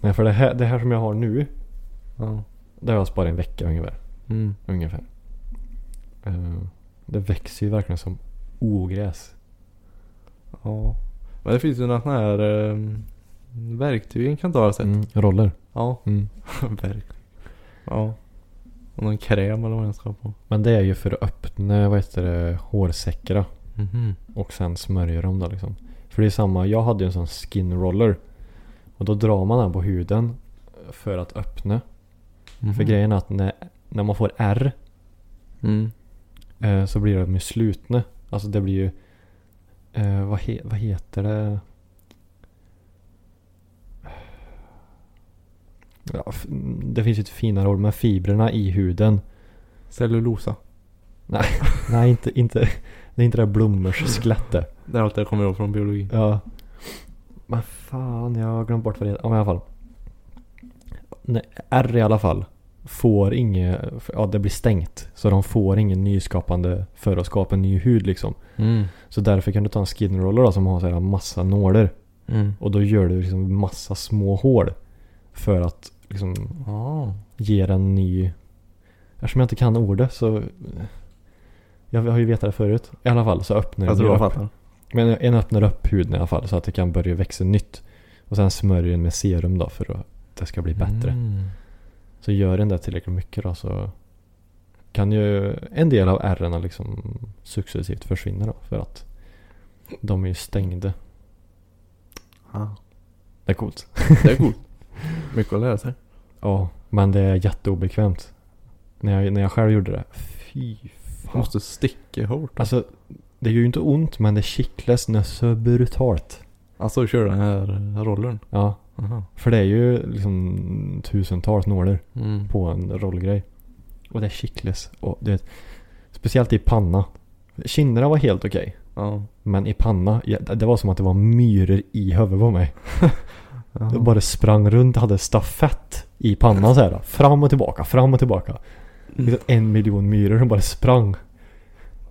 B: Nej för det här, det här som jag har nu,
C: Ja.
B: det har jag sparat en vecka ungefär.
C: Mm.
B: Ungefär. Eh, Det växer ju verkligen som ogräs.
C: ja. Men det finns ju några sådana här eh, verktyg en kan ta har sett.
B: Mm, roller.
C: Ja.
B: Mm.
C: Verktyg. Ja. Och någon kräm eller vad jag ska ha på.
B: Men det är ju för att öppna, vad heter det, hårsäckar då.
C: Mhm.
B: och sen smörjer dem då liksom. För det är samma, jag hade ju en sån skin roller. Och då drar man den på huden för att öppna.
C: Mhm.
B: För grejen är att när, när man får R
C: Mm.
B: eh, så blir de ju slutna. Alltså det blir ju Eh, vad, he, vad heter det? Ja, f- det finns ju ett finare ord, men fibrerna i huden.
C: Cellulosa.
B: Nej, inte, inte, det är inte det där blommors skelette.
C: Det är allt jag kommer ihåg från biologi.
B: Ja. Men fan, jag har glömt bort vad det heter. Ja, men i alla fall. Nej, R i alla fall. Får inget, ja det blir stängt. Så de får ingen nyskapande för att skapa en ny hud liksom.
C: Mm.
B: Så därför kan du ta en skinroller då som har så här massa nålar.
C: Mm.
B: Och då gör du liksom massa små hål. För att liksom
C: Ah.
B: ge den ny... Eftersom jag inte kan ordet så... Jag har ju vetat det förut. I alla fall så öppnar
C: Jag
B: den
C: tror
B: ju
C: Alltså, jag
B: upp.
C: fattar.
B: Men en öppnar upp huden i alla fall så att det kan börja växa nytt. Och sen smörjer den med serum då för att det ska bli bättre.
C: Mm.
B: Så gör den det tillräckligt mycket då så kan ju en del av ärrena liksom successivt försvinna då för att de är ju stängda.
C: Ah.
B: Det är coolt.
C: Det är coolt. Mycket att lära sig.
B: Ja, men det är jätteobekvämt. När jag, när jag själv gjorde det. Fy
C: Man
B: fan.
C: måste sticka hårt.
B: Alltså, det gör ju inte ont men det kittlas något så brutalt.
C: Alltså kör den här rollern.
B: Ja,
C: Aha.
B: för det är ju liksom tusentals nålar.
C: Mm.
B: på en rollgrej. Och det kittlas. Och du vet, speciellt i panna. Kinderna var helt okej.
C: Ja.
B: Men i panna, ja, det var som att det var myror i huvudet på mig. Jag bara sprang runt, hade stafett i pannan så här. Fram och tillbaka, fram och tillbaka. Liksom en miljon myror som bara sprang.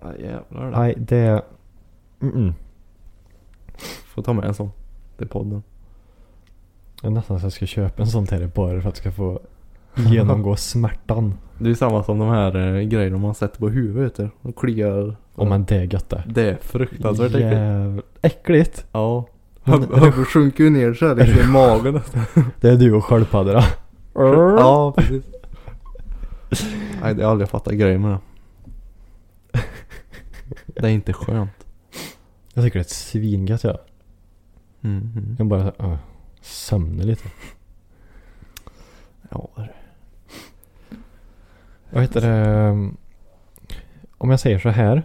C: Ah, jävlar.
B: Nej, det... Mm-mm.
C: Får ta med en sån. Till podden.
B: Det är nästan så jag ska köpa en sån till dig bara för att jag ska få genomgå smärtan.
C: Det är samma som de här eh, grejerna man sätter på huvudet. vet du. De kliar.
B: Om man det är gött det.
C: Det är fruktansvärt äckligt.
B: Jävlar. Äckligt!
C: Ja.
B: Men-
C: Huvudet sjunker ju ner så här liksom i magen nästan.
B: Det är du och sköldpaddorna.
C: Ja, precis. Nej, det har aldrig fattat grejen med det. Det är inte skönt.
B: Jag tycker det är ett svingött ja.
C: Mm.
B: Jag bara uh, sömnar lite.
C: Ja, det är det.
B: Vad heter det? um, Om jag säger så här.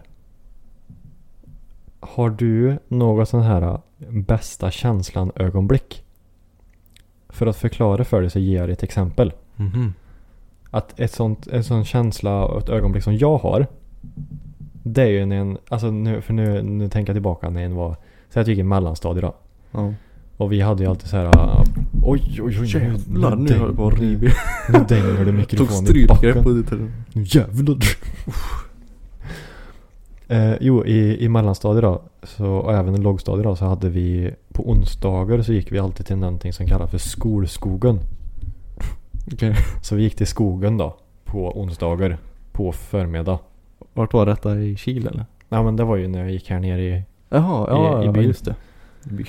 B: Har du något sån här uh, bästa känslan ögonblick? För att förklara för dig så ger jag dig ett exempel.
C: Mhm.
B: Att ett sånt, en sån känsla och ett ögonblick som jag har. Det är ju när en, alltså nu, för nu, nu tänker jag tillbaka när en var, säg att jag gick i mellanstadiet då.
C: Ja.
B: Och vi hade ju alltid så här. uh, Oj, oj, oj. nu-
C: Jävlar, nu
B: däng-
C: höll jag på att riva.
B: Nu dänger det
C: Tog
B: mikrofonen i
C: strypgrepp
B: backen.
C: på det.
B: Nu jävlar. Eh, jo, i, i mellanstadiet då, så, och även i lågstadiet då, så hade vi på onsdagar så gick vi alltid till någonting som kallas för skolskogen.
C: Okej.
B: Så vi gick till skogen då på onsdagar på förmiddag.
C: Vart var detta? I Kil eller?
B: Ja men det var ju när jag gick här nere i...
C: Jaha,
B: ja,
C: ja,
B: ja, just
C: just det. I byn.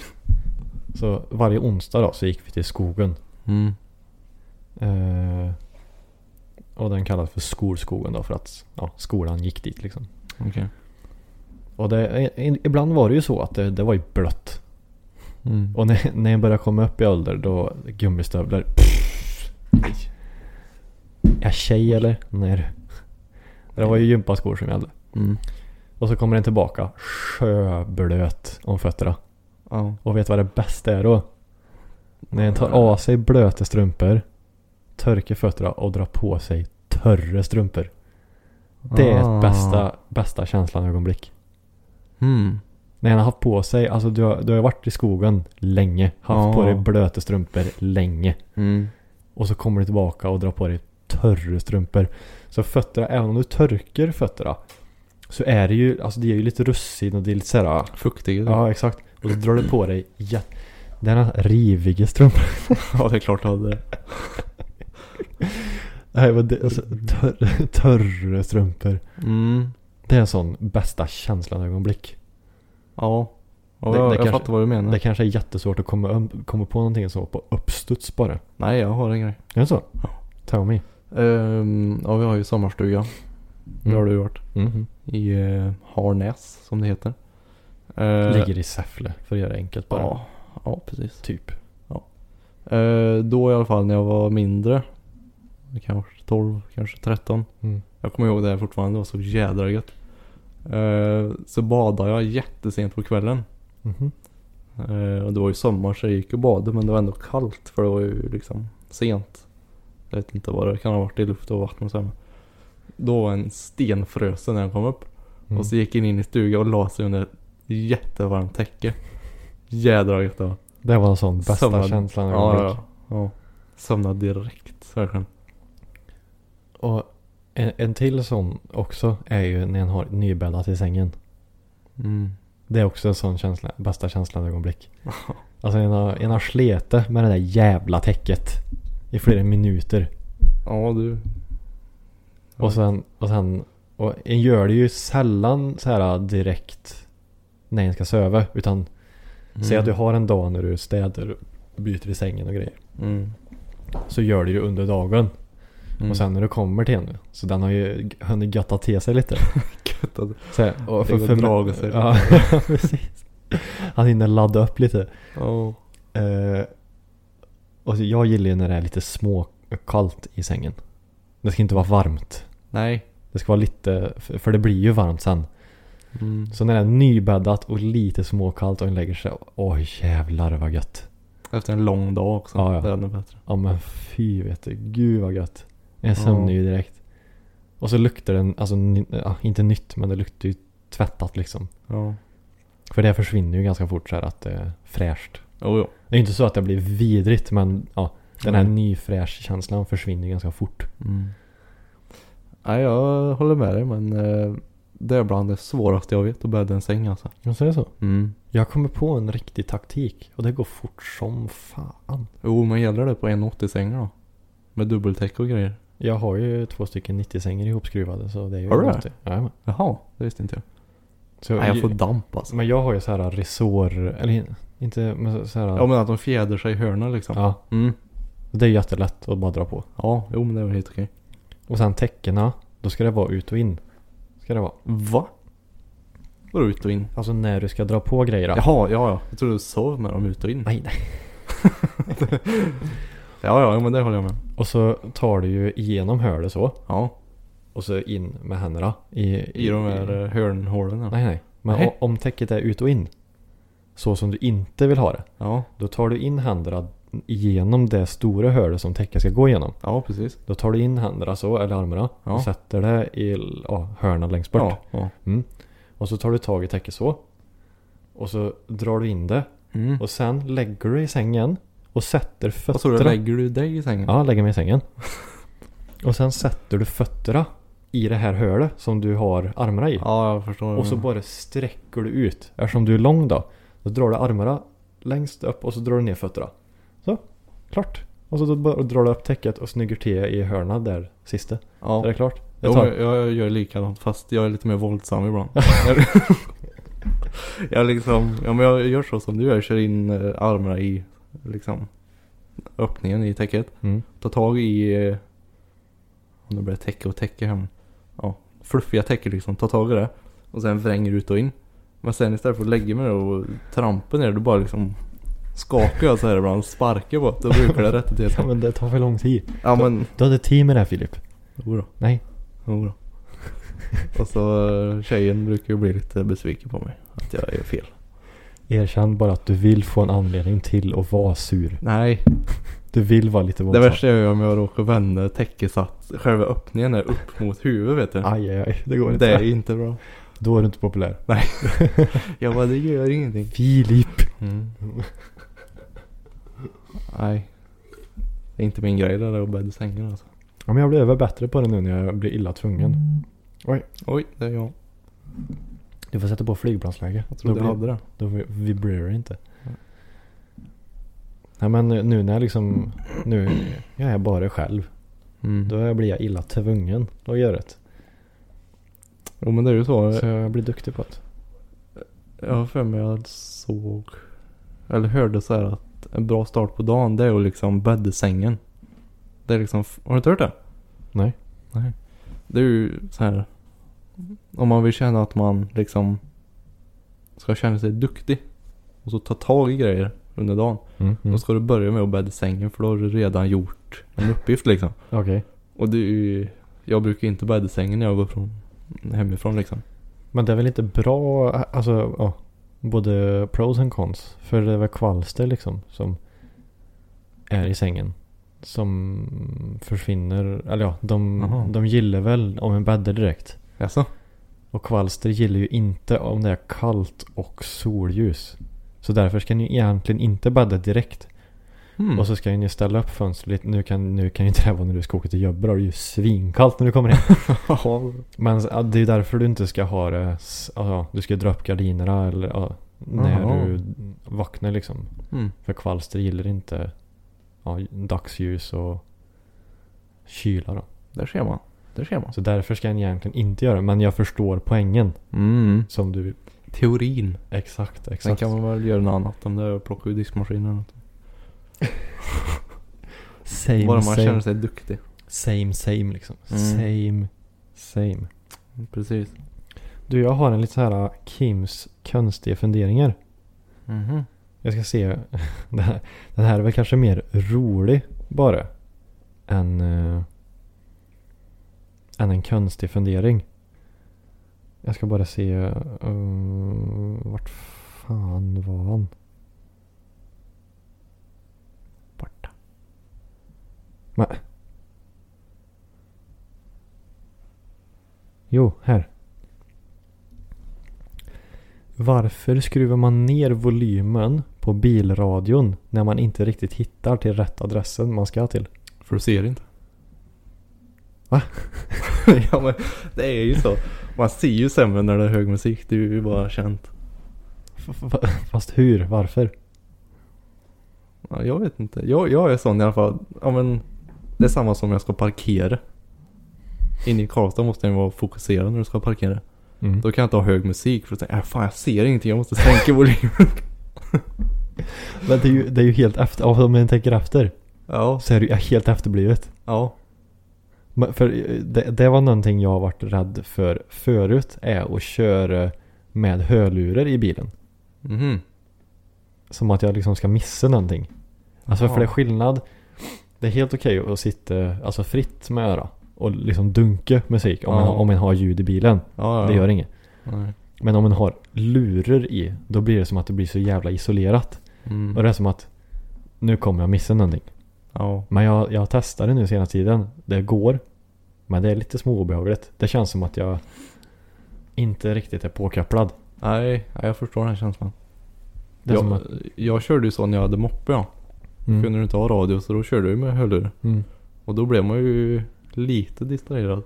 B: Så varje onsdag då så gick vi till skogen.
C: Mm.
B: Eh, och den kallas för skolskogen då för att ja, skolan gick dit liksom.
C: Okej.
B: Och det, i- ibland var det ju så att det, det var ju blött.
C: Mm.
B: Och när, när jag började komma upp i ålder då gummistövlar. Pff, nej. Är jag tjej eller? Nej du. Det var ju gympaskor som gällde.
C: Mm.
B: Och så kommer den tillbaka sjöblöt om fötterna.
C: Ja.
B: Och vet vad det bästa är då? När en tar av sig blöta strumpor, törker fötterna och drar på sig törre strumpor. Det är
C: Ah.
B: ett bästa, bästa känslan ögonblick.
C: Mm.
B: När han har haft på sig, alltså du har, du har varit i skogen länge, haft
C: Ja.
B: på dig blöta strumpor länge.
C: Mm.
B: Och så kommer du tillbaka och drar på dig törre strumpor. Så fötterna, även om du törker fötterna, så är det ju, alltså det är ju lite russin och det är lite såhär,
C: Fuktig.
B: ja exakt. Och så drar du på dig jät- denna riviga strumpor.
C: ja, det är klart du hade det.
B: Nej men det, alltså törre, törre strumpor.
C: Mm.
B: Det är en sån bästa känslan ögonblick.
C: Ja. ja
B: Det-
C: jag
B: det
C: jag
B: kanske-
C: fattar vad du menar.
B: Det kanske är jättesvårt att komma, um- komma på någonting så på uppstuds bara.
C: Nej, jag har en grej.
B: Är det så?
C: Ja.
B: Tell me.
C: Ehm, ja, vi har ju sommarstuga. Det har
B: Mm.
C: du ju varit.
B: Mhm.
C: I uh, Harnäs, som det heter. Eh,
B: Ligger i Säffle för att göra det enkelt bara.
C: Ja, ja precis.
B: Typ.
C: Eh, då i alla fall när jag var mindre. Kanske 12, kanske 13.
B: Mm.
C: Jag kommer ihåg det här fortfarande. Det var så jädra gött. Eh, så badade jag jättesent på kvällen.
B: Mhm.
C: Eh, och det var ju sommar så jag gick och badade men det var ändå kallt för det var ju liksom sent. Jag vet inte vad det kan ha varit i luft och vatten och så. här, men Då var en stenfrösen när jag kom upp.
B: Mm.
C: Och så gick jag in i stugan och la sig under ett jättevarmt täcke. Jädrar gött det var.
B: Det var en sån bästa
C: Sömnad.
B: känslan jag
C: Ja,
B: fick.
C: ja, ja. Somnade direkt verkligen.
B: Och en, en till sån också är ju när en har nybäddat i sängen.
C: Mm.
B: Det är också en sån känsla, bästa känslan i ögonblick. Alltså en har, en har sletet med det där jävla täcket i flera minuter.
C: Ja du.
B: Mm. Och sen, och sen, och en gör det ju sällan så här direkt när en ska söva. Utan säg att du har en dag när du städar, byter i sängen och grejer.
C: Mm.
B: Så gör du ju under dagen.
C: Mm.
B: Och sen när du kommer till henne. Så den har ju hunnit götta till sig lite.
C: Gött att-
B: Så här, och
C: Det går drag och så.
B: Ja, precis. Han hinner ladda upp lite.
C: Ja.
B: Eh, och så jag gillar ju när det är lite små kallt i sängen. Det ska inte vara varmt.
C: Nej.
B: Det ska vara lite, för för det blir ju varmt sen.
C: Mm.
B: Så när det är nybäddat och lite småkallt och en lägger sig. Oj jävlar vad gött.
C: Efter en lång dag också.
B: Ja, ja.
C: Det är ännu bättre.
B: Ja men fy vet du, gud vad gött. Jag
C: Ja.
B: sömnar ju direkt. Och så luktar den, alltså ny- ja, inte nytt men det luktar ju tvättat liksom.
C: Ja.
B: För det försvinner ju ganska fort så här att det är fräscht.
C: Jo, jo.
B: Det är ju inte så att det blir vidrigt men ja, den här
C: Mm.
B: nyfräsch-känslan försvinner ju ganska fort.
C: Mm. Nej, jag håller med dig men eh, det är bland det svåraste jag vet att bädda en säng alltså.
B: Jag säger så.
C: Mm.
B: Jag kommer på en riktig taktik och det går fort som fan.
C: Jo, men gäller det på 1,80 sängar då? Med dubbeltäck och grejer?
B: Jag har ju två stycken 90-sängar ihopskruvade så det är ju...
C: Har du det?
B: alltid- Jajamän.
C: Jaha, det visste inte jag.
B: Så
C: Nej, jag får damp alltså.
B: Men jag har ju så här resår... Eller inte... Men så- så här...
C: Ja, men att de fjädrar sig i hörnen liksom.
B: ja.
C: Mm.
B: Det är jättelätt att bara dra på.
C: Ja, jo men det var helt okej.
B: Och sen täckena, då ska det vara ut och in. Ska det vara.
C: Va? Vadå ut och in?
B: Alltså när du ska dra på grejer.
C: Jaha, ja ja. Jag trodde du sov med dem ut och in.
B: Nej, nej.
C: Ja, ja, jo, men det håller jag med.
B: Och så tar du ju igenom hörnet så.
C: Ja,
B: Och så in med händerna. I,
C: i de här eh, hörnhålen. ja.
B: Nej, nej. Men
C: Nej.
B: o- om täcket är ut och in. Så som du inte vill ha det.
C: Ja,
B: Då tar du in händerna genom det stora hålet som täcket ska gå igenom.
C: ja precis.
B: Då tar du in händerna så, eller armarna,
C: Ja.
B: och sätter det i ja, hörnan längst bort.
C: Ja, ja.
B: Och så tar du tag i täcket så. Och så drar du in det.
C: Mm.
B: Och sen lägger du i sängen och sätter
C: Vad sa du,
B: fötterna.
C: lägger du dig i sängen?
B: Ja, lägger mig i sängen. och sen sätter du fötterna i det här hålet som du har armarna i.
C: Ja, jag förstår.
B: Och så bara sträcker du ut. Eftersom du är lång då. Då drar du armarna längst upp och så drar du ner fötterna. Så, klart. Och så då bara drar du upp täcket och snygger till i hörna där sista.
C: ja.
B: Är det klart?
C: Jo,
B: Jag tar,
C: men jag, jag gör likadant fast jag är lite mer våldsam ibland. jag liksom, ja men jag gör så som du gör, jag kör in eh, armarna i liksom öppningen i täcket.
B: mm.
C: Tar tag i, eh, om det blir täcke och täcke här men, ja, fluffiga täcker liksom, tar tag i det. Och sen vränger ut och in. Men sen istället för att lägga mig ner och trampa ner, då bara liksom skakar jag så här ibland, sparkar på det. Då brukar det rätta till
B: ja,
C: sig.
B: men det tar för lång tid.
C: Ja men,
B: Du hade tid med det här Filip.
C: jodå.
B: Nej.
C: Jodå. Och så eh, tjejen brukar ju bli lite besviken på mig. Att jag gör fel.
B: Erkänn bara att du vill få en anledning till att vara sur.
C: Nej.
B: Du vill vara lite
C: Det
B: våldsam.
C: värsta jag gör om jag råkar vända täcket så att själva öppningen är upp mot huvudet vet du.
B: Aj, aj, aj. Det går inte.
C: Det är inte bra.
B: Då är du inte populär.
C: Jag bara, det gör ingenting.
B: Filip.
C: Mm. Nej. Det är inte min grej det där att bädda sängen alltså.
B: Ja, men jag blir över bättre på det nu när jag blir illa
C: Mm.
B: tvungen.
C: Oj, det är jag.
B: Du får sätta på flygplansläge.
C: Jag trodde
B: Då
C: jag
B: blir-
C: hade det.
B: Då vi- vibrerar det inte. Nej men nu när jag liksom, nu jag är bara själv.
C: Mm.
B: Då blir jag illa tvungen att göra det.
C: Jo men det är ju så.
B: Så jag blir duktig på det.
C: Jag har för mig att jag såg, eller hörde så här att en bra start på dagen det är att liksom bädda sängen. Det är liksom, har du inte hört det?
B: Nej.
C: Nej. Det är ju så här. Om man vill känna att man liksom ska känna sig duktig och så ta tag i grejer under dagen.
B: Mm,
C: Då ska du börja med att bädda sängen för då har du redan gjort en uppgift liksom.
B: Okej.
C: Och det är ju, jag brukar inte bädda sängen när jag går från, hemifrån liksom.
B: Men det är väl inte bra, alltså ja, både pros and cons. För det är väl kvalster liksom som är i sängen. Som försvinner, eller ja, de,
C: Jaha.
B: de gillar väl om en bäddar direkt.
C: Jaså?
B: Och kvalster gillar ju inte om det är kallt och solljus. Så därför ska ni egentligen inte bädda direkt.
C: Hmm.
B: Och så ska ni ställa upp fönstret lite. Nu kan, nu kan ju inte det vara när du ska åka till jobbet. då är Det är ju svinkallt när du kommer hem. Men ja, det är därför du inte ska ha det, s- alltså, du ska dra upp gardinerna eller ja, när
C: Jaha.
B: du vaknar liksom.
C: Mm.
B: För kvalster gillar inte ja, dagsljus och kyla då.
C: Där ser man. Där ser man.
B: Så därför ska en egentligen inte göra det. Men jag förstår poängen
C: Mm.
B: som du vill.
C: Teorin.
B: Exakt,
C: Sen
B: exakt.
C: kan man väl göra något annat än det är att plocka ur diskmaskinen eller något.
B: Same,
C: Bara man
B: same,
C: känner sig duktig.
B: same, same liksom.
C: Mm.
B: Same, same.
C: Precis.
B: Du, jag har en lite så här äh, Kims konstiga funderingar.
C: Mhm.
B: Jag ska se. Den här, den här är väl kanske mer rolig bara. Än, eh, än en konstig fundering. Jag ska bara se. eh, vart fan var han? Borta. Men. Jo, här. Varför skruvar man ner volymen på bilradion när man inte riktigt hittar till rätt adressen man ska till?
C: För du ser inte.
B: Va?
C: ja men det är ju så. Man ser ju sämre när det är hög musik. Det är ju bara känt.
B: F- f- Fast hur? Varför?
C: Ja, jag vet inte. Jag, jag är sån i alla fall. Ja men. Det är samma som när jag ska parkera. Inne i Karlstad måste jag ju vara fokuserad när du ska parkera.
B: Mm.
C: Då kan jag inte ha hög musik för att tänka, äh, fan jag ser ingenting. Jag måste sänka volymen.
B: Men det är ju, det är ju helt efter, ja, om man tänker efter
C: ja.
B: så är det ju helt efterblivet.
C: Ja.
B: Men För eh, det, det var någonting jag har varit rädd för förut är att köra med hörlurar i bilen.
C: Mhm.
B: Som att jag liksom ska missa någonting. Alltså
C: Jaha.
B: för det är skillnad. Det är helt okej att sitta alltså fritt med öra och liksom dunka musik om, man,
C: Ja.
B: om man har ljud i bilen.
C: Ja, ja.
B: Det gör inget.
C: Nej.
B: Men om man har lurer i, då blir det som att det blir så jävla isolerat.
C: Mm.
B: Och det är som att nu kommer jag missa någonting.
C: Ja.
B: Men jag, jag testade nu senaste tiden. Det går. Men det är lite småobehagligt. Det känns som att jag inte riktigt är påkopplad.
C: Nej, nej, jag förstår den här känslan.
B: Det är som
C: Jag,
B: att,
C: jag körde ju så när jag hade moppe ja.
B: mm,
C: Kunde du inte ha radio så då körde jag ju med hörlurar.
B: mm.
C: Och då blev man ju lite distraherad.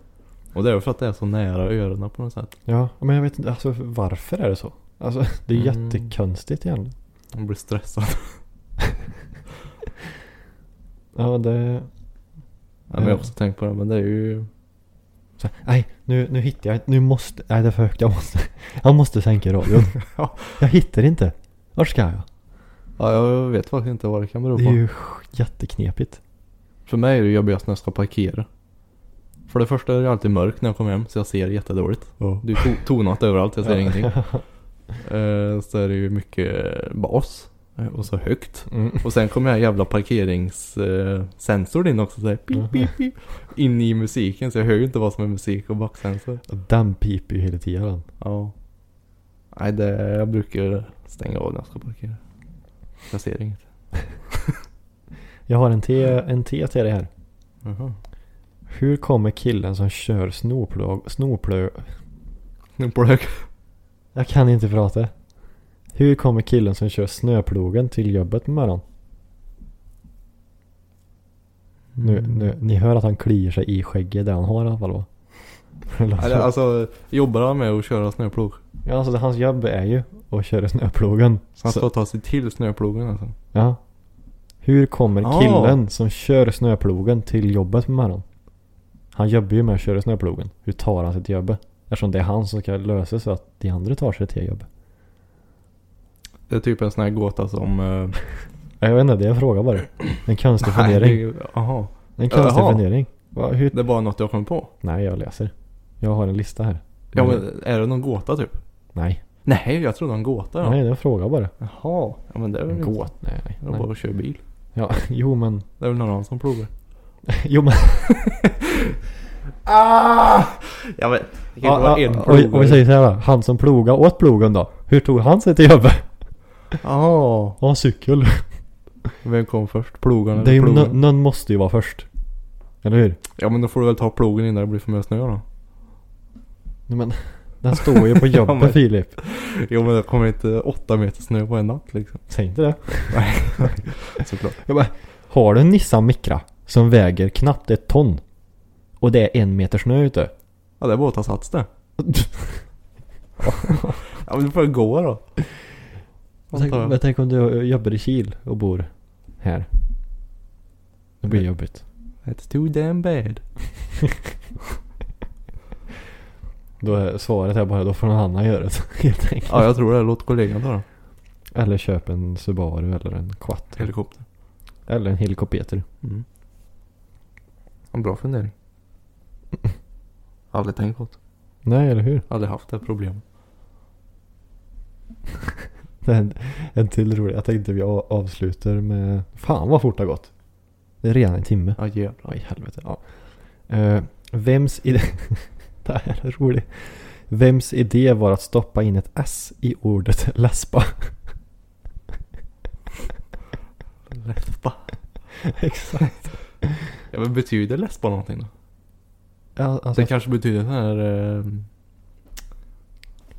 C: Och det är väl för att det är så nära öronen på något sätt.
B: Ja, men jag vet inte. Alltså varför är det så? Alltså det är
C: Mm.
B: jättekonstigt egentligen.
C: Man blir stressad.
B: Ja, det...
C: Nej, men jag har också tänkt på det men det är ju...
B: Så, nej, nu, nu hittar jag inte. Nu måste... Nej, det är för högt. Jag måste, jag måste sänka radion.
C: Ja.
B: Jag hittar inte. Vart ska jag?
C: Ja, jag vet faktiskt inte vad det kan bero
B: Det är
C: på.
B: ju sj- jätteknepigt.
C: För mig är det jobbigast när jag ska parkera. För det första är det alltid mörkt när jag kommer hem så jag ser jättedåligt. Det är to- tonat överallt, jag ser ingenting. Eh, så är det ju mycket bas. eh, Och så högt.
B: Mm.
C: Och sen kommer jag jävla parkeringssensorn in också såhär, pip, pip, pip, In i musiken så jag hör ju inte vad som är musik och backsensor.
B: Och Den piper ju hela tiden.
C: Ja. Nej det, jag brukar stänga av när jag ska parkera. Jag ser inget.
B: Jag har en te, en te till det här.
C: Jaha.
B: Hur kommer killen som kör snoplog, snoplö...
C: Nu på hög.
B: Jag kan inte prata. Hur kommer killen som kör snöplogen till jobbet med morgonen? Nu,
C: Mm.
B: nu, ni hör att han kliar sig i skägget där han har i alla fall va?
C: Eller, alltså jobbar han med att köra snöplog?
B: Ja, alltså det, hans jobb är ju att köra snöplogen.
C: Så han
B: Så-
C: ska ta sig till snöplogen alltså?
B: Ja. Hur kommer
C: Ah.
B: killen som kör snöplogen till jobbet på morgonen? Han jobbar ju med att köra snöplogen. Hur tar han sig till jobbet? Eftersom det är han som ska lösa så att de andra tar sig till jobbet.
C: Det är typ en sån här gåta som... eh,
B: Jag vet inte, det är en fråga bara. En konstig
C: Nej,
B: fundering.
C: det är- Jaha.
B: En konstig
C: Jaha.
B: fundering. Va, hur...
C: Det är bara något jag kom på.
B: Nej, jag läser. Jag har en lista här.
C: Ja men är det någon gåta typ?
B: Nej.
C: Nej, jag trodde det var en gåta ja.
B: Nej, det är en fråga bara.
C: Jaha. Ja men det är väl
B: En
C: inte-
B: gåt. Nej, nej.
C: Det är bara
B: nej.
C: att köra bil.
B: Ja, jo men.
C: Det är väl någon annan som plogar.
B: Jo men.
C: Ah! Jag vet. Det kan ju inte
B: Ja,
C: vara
B: ja,
C: en
B: och, vi- och vi säger så här då. Han som plogade åt plogen då. Hur tog han sig till jobbet?
C: Jaha.
B: Ja, cykel.
C: Vem kom först? Plogarna
B: Det är
C: eller
B: ju, nå-
C: plogen?
B: någon måste ju vara först. Eller hur?
C: Ja men då får du väl ta plogen innan det blir för mycket snö då.
B: Nej, Men, den står ju på jobbet
C: men-
B: Filip.
C: Jo men det kommer inte åtta meter snö på en natt liksom.
B: Säg inte det.
C: Nej. Såklart.
B: Jag bara, har du en Nissan Micra som väger knappt ett ton och det är en meter snö ute.
C: Ja det är bara att ta sats det. Ja men du får jag gå då.
B: tänk,
C: Antar jag.
B: men tänk om du jobbar i Kil och bor här. Det blir
C: Nej.
B: jobbigt.
C: It's too damn bad.
B: Då är svaret är bara då får någon annan göra det helt enkelt.
C: Ja jag tror det. Låt kollegan ta då.
B: Eller köp en Subaru eller en Quattro.
C: Helikopter.
B: Eller en Helicopeter.
C: Mm. En bra fundering. Aldrig tänkt på det.
B: Nej, eller hur?
C: Aldrig haft det problemet.
B: En, en till rolig. Jag tänkte vi a- avslutar med... Fan vad fort det har gått. Det är redan en timme.
C: Ja jävlar.
B: Ja, i helvete. Ja. Eh, vems idé... det här är roligt. Vems idé var att stoppa in ett S i ordet läspa?
C: Läspa.
B: Exakt.
C: Ja men betyder läspa någonting då?
B: Ja, alltså,
C: Det kanske betyder sån här... Eh,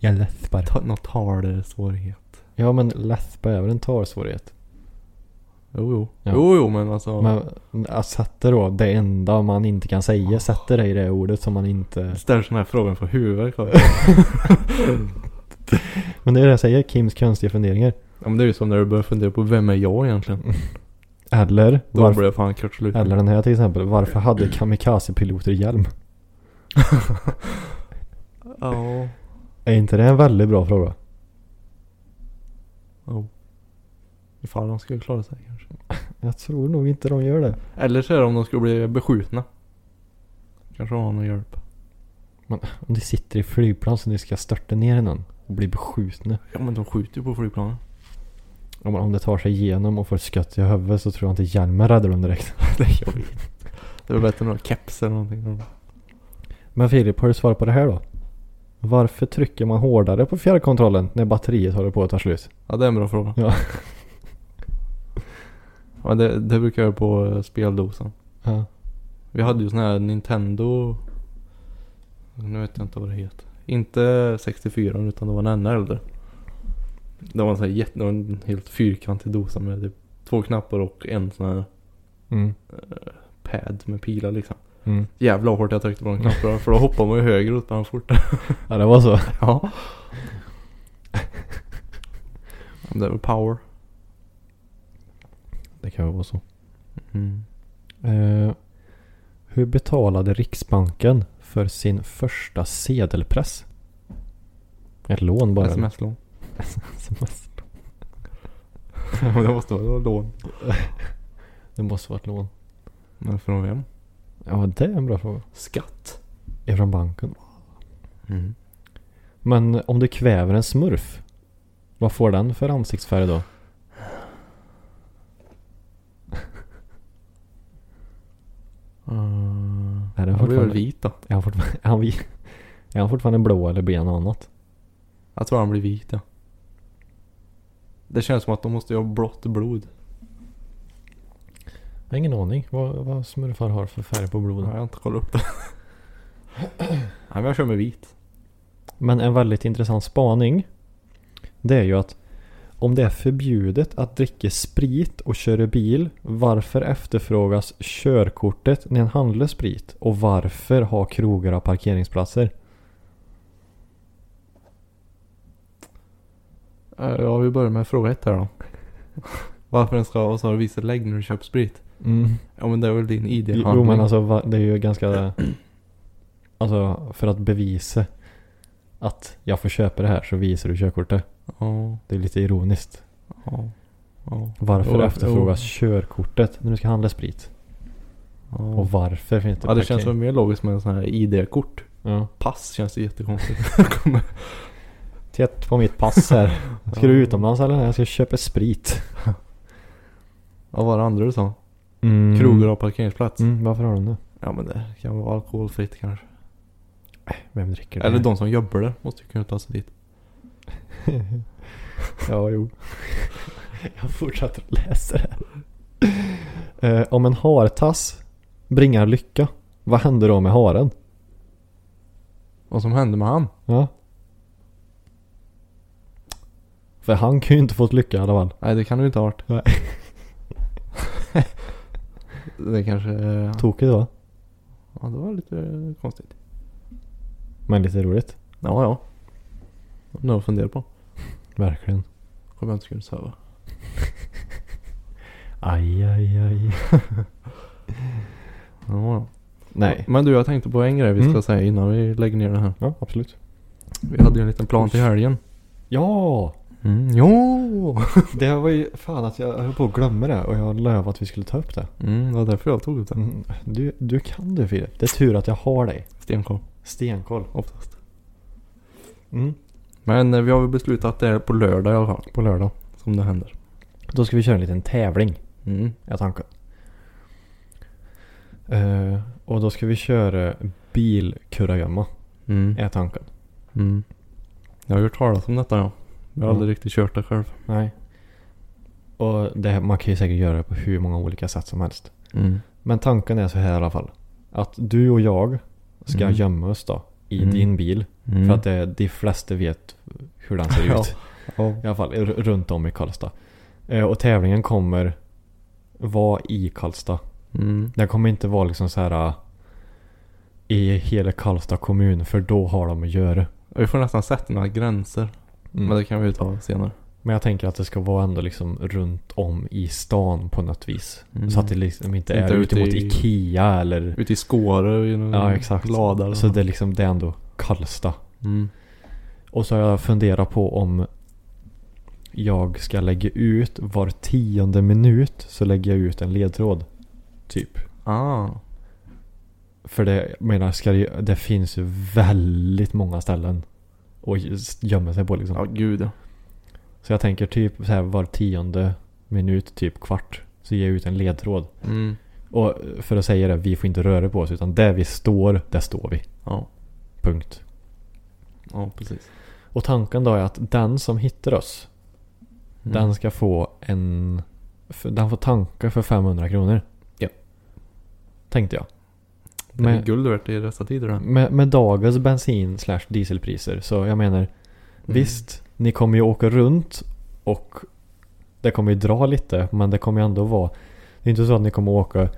B: jag läspar.
C: ta, någon talsvårighet.
B: Ja, men läspa är väl en talsvårighet?
C: Jo jo.
B: Ja.
C: Jo jo men alltså.
B: Men att sätta då det enda man inte kan säga, sätter det i det ordet som man inte...
C: Ställer sån här frågan för huvudvärk. har jag.
B: Men det är det jag säger, Kims konstiga funderingar.
C: ja men det är ju som när du börjar fundera på vem är jag egentligen?
B: Eller,
C: Då
B: varför,
C: blir det fan kort slut.
B: eller den här till exempel, varför hade kamikazepiloter hjälm?
C: Ja.
B: Är inte det en väldigt bra fråga?
C: Jo. Ifall de skulle klara sig kanske.
B: Jag tror nog inte de gör det.
C: Eller så är det om de skulle bli beskjutna. Kanske de har någon hjälp.
B: Om de sitter i flygplan så de ska störta ner i någon och bli beskjutna.
C: Ja men de skjuter ju på flygplanen.
B: Om, om det tar sig igenom och får ett skott i huvudet så tror jag inte hjälmen räddar dem direkt.
C: det gör vi. Det är väl bättre än några keps eller någonting.
B: Men Filip, har du svar på det här då? Varför trycker man hårdare på fjärrkontrollen när batteriet håller på att ta slut?
C: Ja det är en bra fråga.
B: Ja.
C: Ja det, det brukar jag göra på eh, speldosan.
B: Ja.
C: Vi hade ju sån här Nintendo... Nu vet jag inte vad det heter. Inte 64 utan det var en ännu äldre. Det var en sån här jätte... det var En helt fyrkantig dosa med typ två knappar och en sån här
B: Mm.
C: pad med pilar liksom.
B: Mm.
C: Jävla hårt jag tryckte på de knapparna för då hoppar man ju högre och sprang fort.
B: Ja, det var så.
C: Ja. Men det är väl power.
B: Det kan ju vara så. Mm. Eh, hur betalade Riksbanken för sin första sedelpress? Ett lån bara. eller?
C: Sms-lån.
B: SMS.
C: Ja, men det måste vara lån.
B: Det måste vara ett lån.
C: Men från vem?
B: Ja, det är en bra fråga.
C: Skatt.
B: Ifrån banken. Mm. Men om du kväver en smurf, vad får den för ansiktsfärg då?
C: Uh,
B: Är, den
C: det blir väl
B: fortfarande,
C: vit då.
B: är, han fortfarande, är, han, vi- är han fortfarande blå eller blir han något annat?
C: Jag tror han blir vit ja. Det känns som att de måste ju ha blått blod.
B: Mm. Jag har ingen aning vad, vad smurfar har för färg på
C: Nej,
B: blodet.
C: jag har inte kollat upp det. Nej men jag kör med vit.
B: Men en väldigt intressant spaning. Det är ju att om det är förbjudet att dricka sprit och köra bil, varför efterfrågas körkortet när en handlar sprit? Och varför har krogar och parkeringsplatser?
C: Eh, Ja vi börjar med fråga ett här då. Varför den ska och så har du visat lägg när du köper sprit. Ja men det är väl din ID-handling.
B: Mm. Jo men alltså va- det är ju ganska... Alltså för att bevisa att jag får köpa det här så visar du körkortet.
C: Ja,
B: Det är lite ironiskt.
C: ja, ja,
B: Varför
C: Jo,
B: efterfrågas körkortet när du ska handla sprit?
C: ja.
B: Och varför finns det
C: Ja det
B: parkering?
C: känns väl mer logiskt med en sån här ID-kort.
B: Ja.
C: Pass känns det jättekonstigt.
B: Titt på mitt pass här. Ska du utomlands eller? Nej, Jag ska köpa sprit.
C: Vad var det andra du sa?
B: Mm.
C: Krogar och parkeringsplats?
B: Mm, varför Mm, har de det?
C: Ja men det kan vara alkoholfritt kanske.
B: Vem dricker det?
C: Eller de som jobbar där måste ju kunna ta sig dit.
B: Ja, jo. Jag fortsätter att läsa det här. Eh, om en hartass bringar lycka, vad händer då med haren?
C: Vad som hände med han?
B: Ja. För han kan ju inte fått lycka i alla fall.
C: Nej det kan det ju inte ha varit.
B: Nej.
C: det kanske...
B: Tokigt va?
C: Ja det var lite konstigt.
B: Men lite roligt.
C: Ja ja. Något att fundera på.
B: Verkligen.
C: Kommer jag inte skulle sova.
B: Aj, aj, aj.
C: Ja, ja.
B: Nej.
C: Men du jag tänkte på en grej vi ska
B: Mm.
C: säga innan vi lägger ner det här.
B: Ja, absolut.
C: Vi hade ju en liten plan till helgen.
B: Ja!
C: Mm, ja!
B: Det var ju fan att jag höll på att glömma det och jag lövade att vi skulle ta upp det.
C: Mm, det var därför jag tog upp det.
B: Mm, Du, du kan du Filip. Det är tur att jag har dig.
C: Stenkoll
B: Stenkoll.
C: oftast.
B: Mm.
C: Men eh, vi har väl beslutat att det är på lördag i alla fall.
B: På lördag.
C: Som det händer.
B: Då ska vi köra en liten tävling.
C: Mm.
B: är tanken. Eh, och då ska vi köra bilkurragömma,
C: Mm.
B: är tanken.
C: Mm. Jag har hört talas om detta ja. Jag har
B: Mm.
C: aldrig riktigt kört det själv.
B: Nej. Och det, man kan ju säkert göra det på hur många olika sätt som helst.
C: Mm.
B: Men tanken är så här i alla fall. Att du och jag ska
C: Mm.
B: gömma oss då i
C: Mm.
B: din bil.
C: Mm.
B: För att det, de flesta vet hur den ser
C: Ja.
B: ut.
C: Ja.
B: I alla fall r- runt om i Karlstad. Eh, och tävlingen kommer vara i Karlstad.
C: Mm.
B: Den kommer inte vara liksom så här äh, i hela Karlstad kommun för då har de att göra.
C: Vi får nästan sätta några gränser. Men det kan vi ju ta senare.
B: Men jag tänker att det ska vara ändå liksom runt om i stan på något vis.
C: Mm.
B: Så att det liksom inte
C: Inte
B: är ute
C: ute
B: mot
C: i-
B: Ikea eller...
C: Ute i Skåre i någon
B: Ja exakt.
C: Mm. lada. eller
B: Så
C: något.
B: det är liksom, det är ändå Karlstad.
C: Mm.
B: Och så har jag funderat på om jag ska lägga ut var tionde minut så lägger jag ut en ledtråd. Typ.
C: Ah.
B: För det, jag menar, ska det, det finns ju väldigt många ställen att just gömma sig på liksom.
C: Ja gud ja.
B: Så jag tänker typ så här var tionde minut, typ kvart, så ger jag ut en ledtråd.
C: Mm.
B: Och för att säga det, vi får inte röra på oss utan där vi står, där står vi.
C: Ja.
B: Punkt.
C: Ja precis.
B: Och tanken då är att den som hittar oss,
C: Mm.
B: den ska få en... f- Den får tanka för 500 kronor.
C: Ja.
B: Tänkte jag.
C: Det är
B: men-
C: guld värt i dessa tider det.
B: Med, med dagens bensin slash dieselpriser, så jag
C: Mm.
B: menar Visst, ni kommer ju åka runt och det kommer ju dra lite men det kommer ju ändå vara Det är inte så att ni kommer åka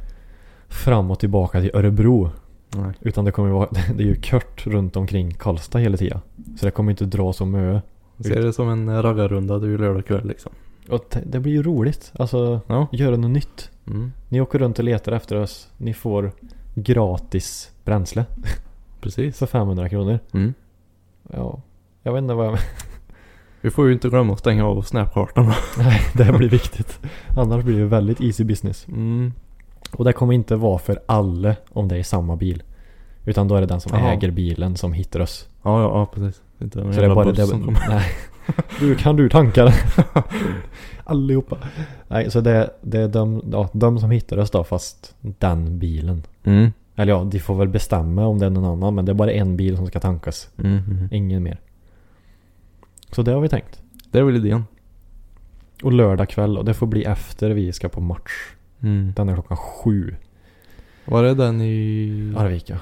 B: fram och tillbaka till Örebro
C: Mm. Nej.
B: utan det kommer ju vara Det är ju kört runt omkring Karlstad hela tiden. Så det kommer inte dra så mycket.
C: Ser det som en eh, raggarrunda det är ju lördag kväll liksom.
B: Och t- det blir ju roligt. Alltså
C: Ja.
B: göra något nytt.
C: Mm.
B: Ni åker runt och letar efter oss. Ni får gratis bränsle
C: Precis.
B: för 500 kronor.
C: Mm.
B: Ja, jag vet inte vad jag
C: Vi får ju inte glömma att stänga av snapkartan.
B: Nej, det här blir viktigt. Annars blir det väldigt easy business.
C: Mm.
B: Och det kommer inte vara för alla om det är samma bil. Utan då är det den som
C: Jaha.
B: äger bilen som hittar oss.
C: Ja, ja, ja precis. Inte den
B: Så det är bara
C: bussen som
B: det.
C: kommer.
B: Nej. Du, kan du tanka den? Allihopa. Nej, så det, det är de, ja, de som hittar oss då, fast den bilen.
C: Mm.
B: Eller ja, de får väl bestämma om det är någon annan, men det är bara en bil som ska tankas.
C: Mm. Mm.
B: Ingen mer. Så det har vi tänkt.
C: Det är väl idén.
B: Och lördag kväll, och det får bli efter vi ska på match.
C: Mm.
B: Den är klockan sju,
C: Var är den i...
B: Arvika.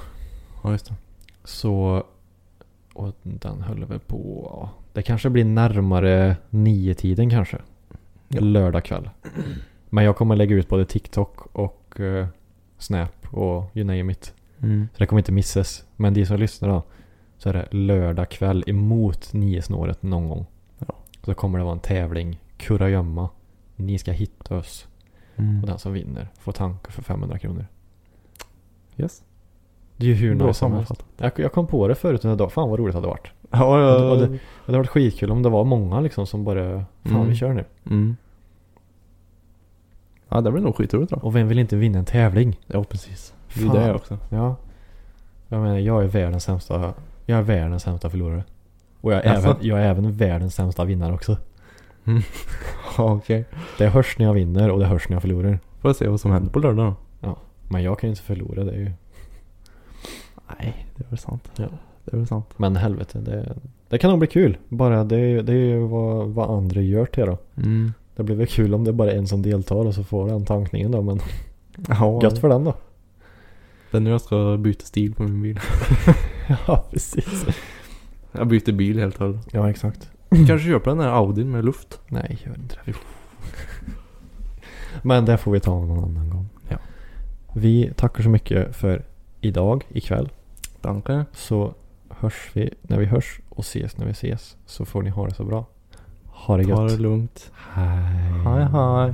C: Ja, just det.
B: Så... Och den höll väl på... Ja, det kanske blir närmare nio tiden kanske.
C: Ja.
B: Lördag kväll. Men jag kommer lägga ut både TikTok och eh, Snap och you name it.
C: Mm.
B: Så det kommer inte missas. Men de som lyssnar då. Så är det lördag kväll emot niosnåret någon gång.
C: Ja.
B: Så kommer det vara en tävling. Kurragömma. Ni ska hitta oss. Och
C: Mm.
B: den som vinner får tanka för 500 kronor.
C: Yes.
B: Det är ju hur
C: Bra
B: nice som helst.
C: sammanfattat.
B: Jag, jag kom på det förut under dagen. Fan vad roligt det hade varit.
C: Ja, ja.
B: Och det- och Det hade varit skitkul om det var många liksom som bara Fan
C: Mm.
B: vi kör nu.
C: Mm. Ja, det blir nog skitroligt då.
B: Och vem vill inte vinna en tävling?
C: Ja, precis. Det
B: Fan.
C: är det också.
B: Ja. Jag menar jag är världens sämsta Jag är världens sämsta förlorare. Och jag är,
C: Jaså?
B: även, jag är även världens sämsta vinnare också.
C: Ja, okej.
B: Det hörs när jag vinner och det hörs när jag förlorar.
C: Får jag se vad som händer på lördag då?
B: Men jag kan ju inte förlora det är ju.
C: Nej, det är väl sant.
B: Ja.
C: Det är väl sant.
B: Men helvete, det, det kan nog bli kul. Bara det, är ju- det är ju vad, vad andra gör till då.
C: Mm.
B: Det blir väl kul om det är bara en som deltar och så får den tankningen då. Men
C: Ja,
B: gött för den då.
C: det är nu jag ska byta stil på min bil.
B: ja, precis.
C: Jag byter bil helt och hållet.
B: Ja, exakt.
C: Kanske köper den här Audin med luft.
B: Nej, gör inte det. Men det får vi ta någon annan gång.
C: Ja.
B: Vi tackar så mycket för idag, ikväll.
C: Danke.
B: Så hörs vi när vi hörs och ses när vi ses. Så får ni ha det så bra. Ha det gött.
C: Ta det lugnt.
B: Hej.
C: Hej hej.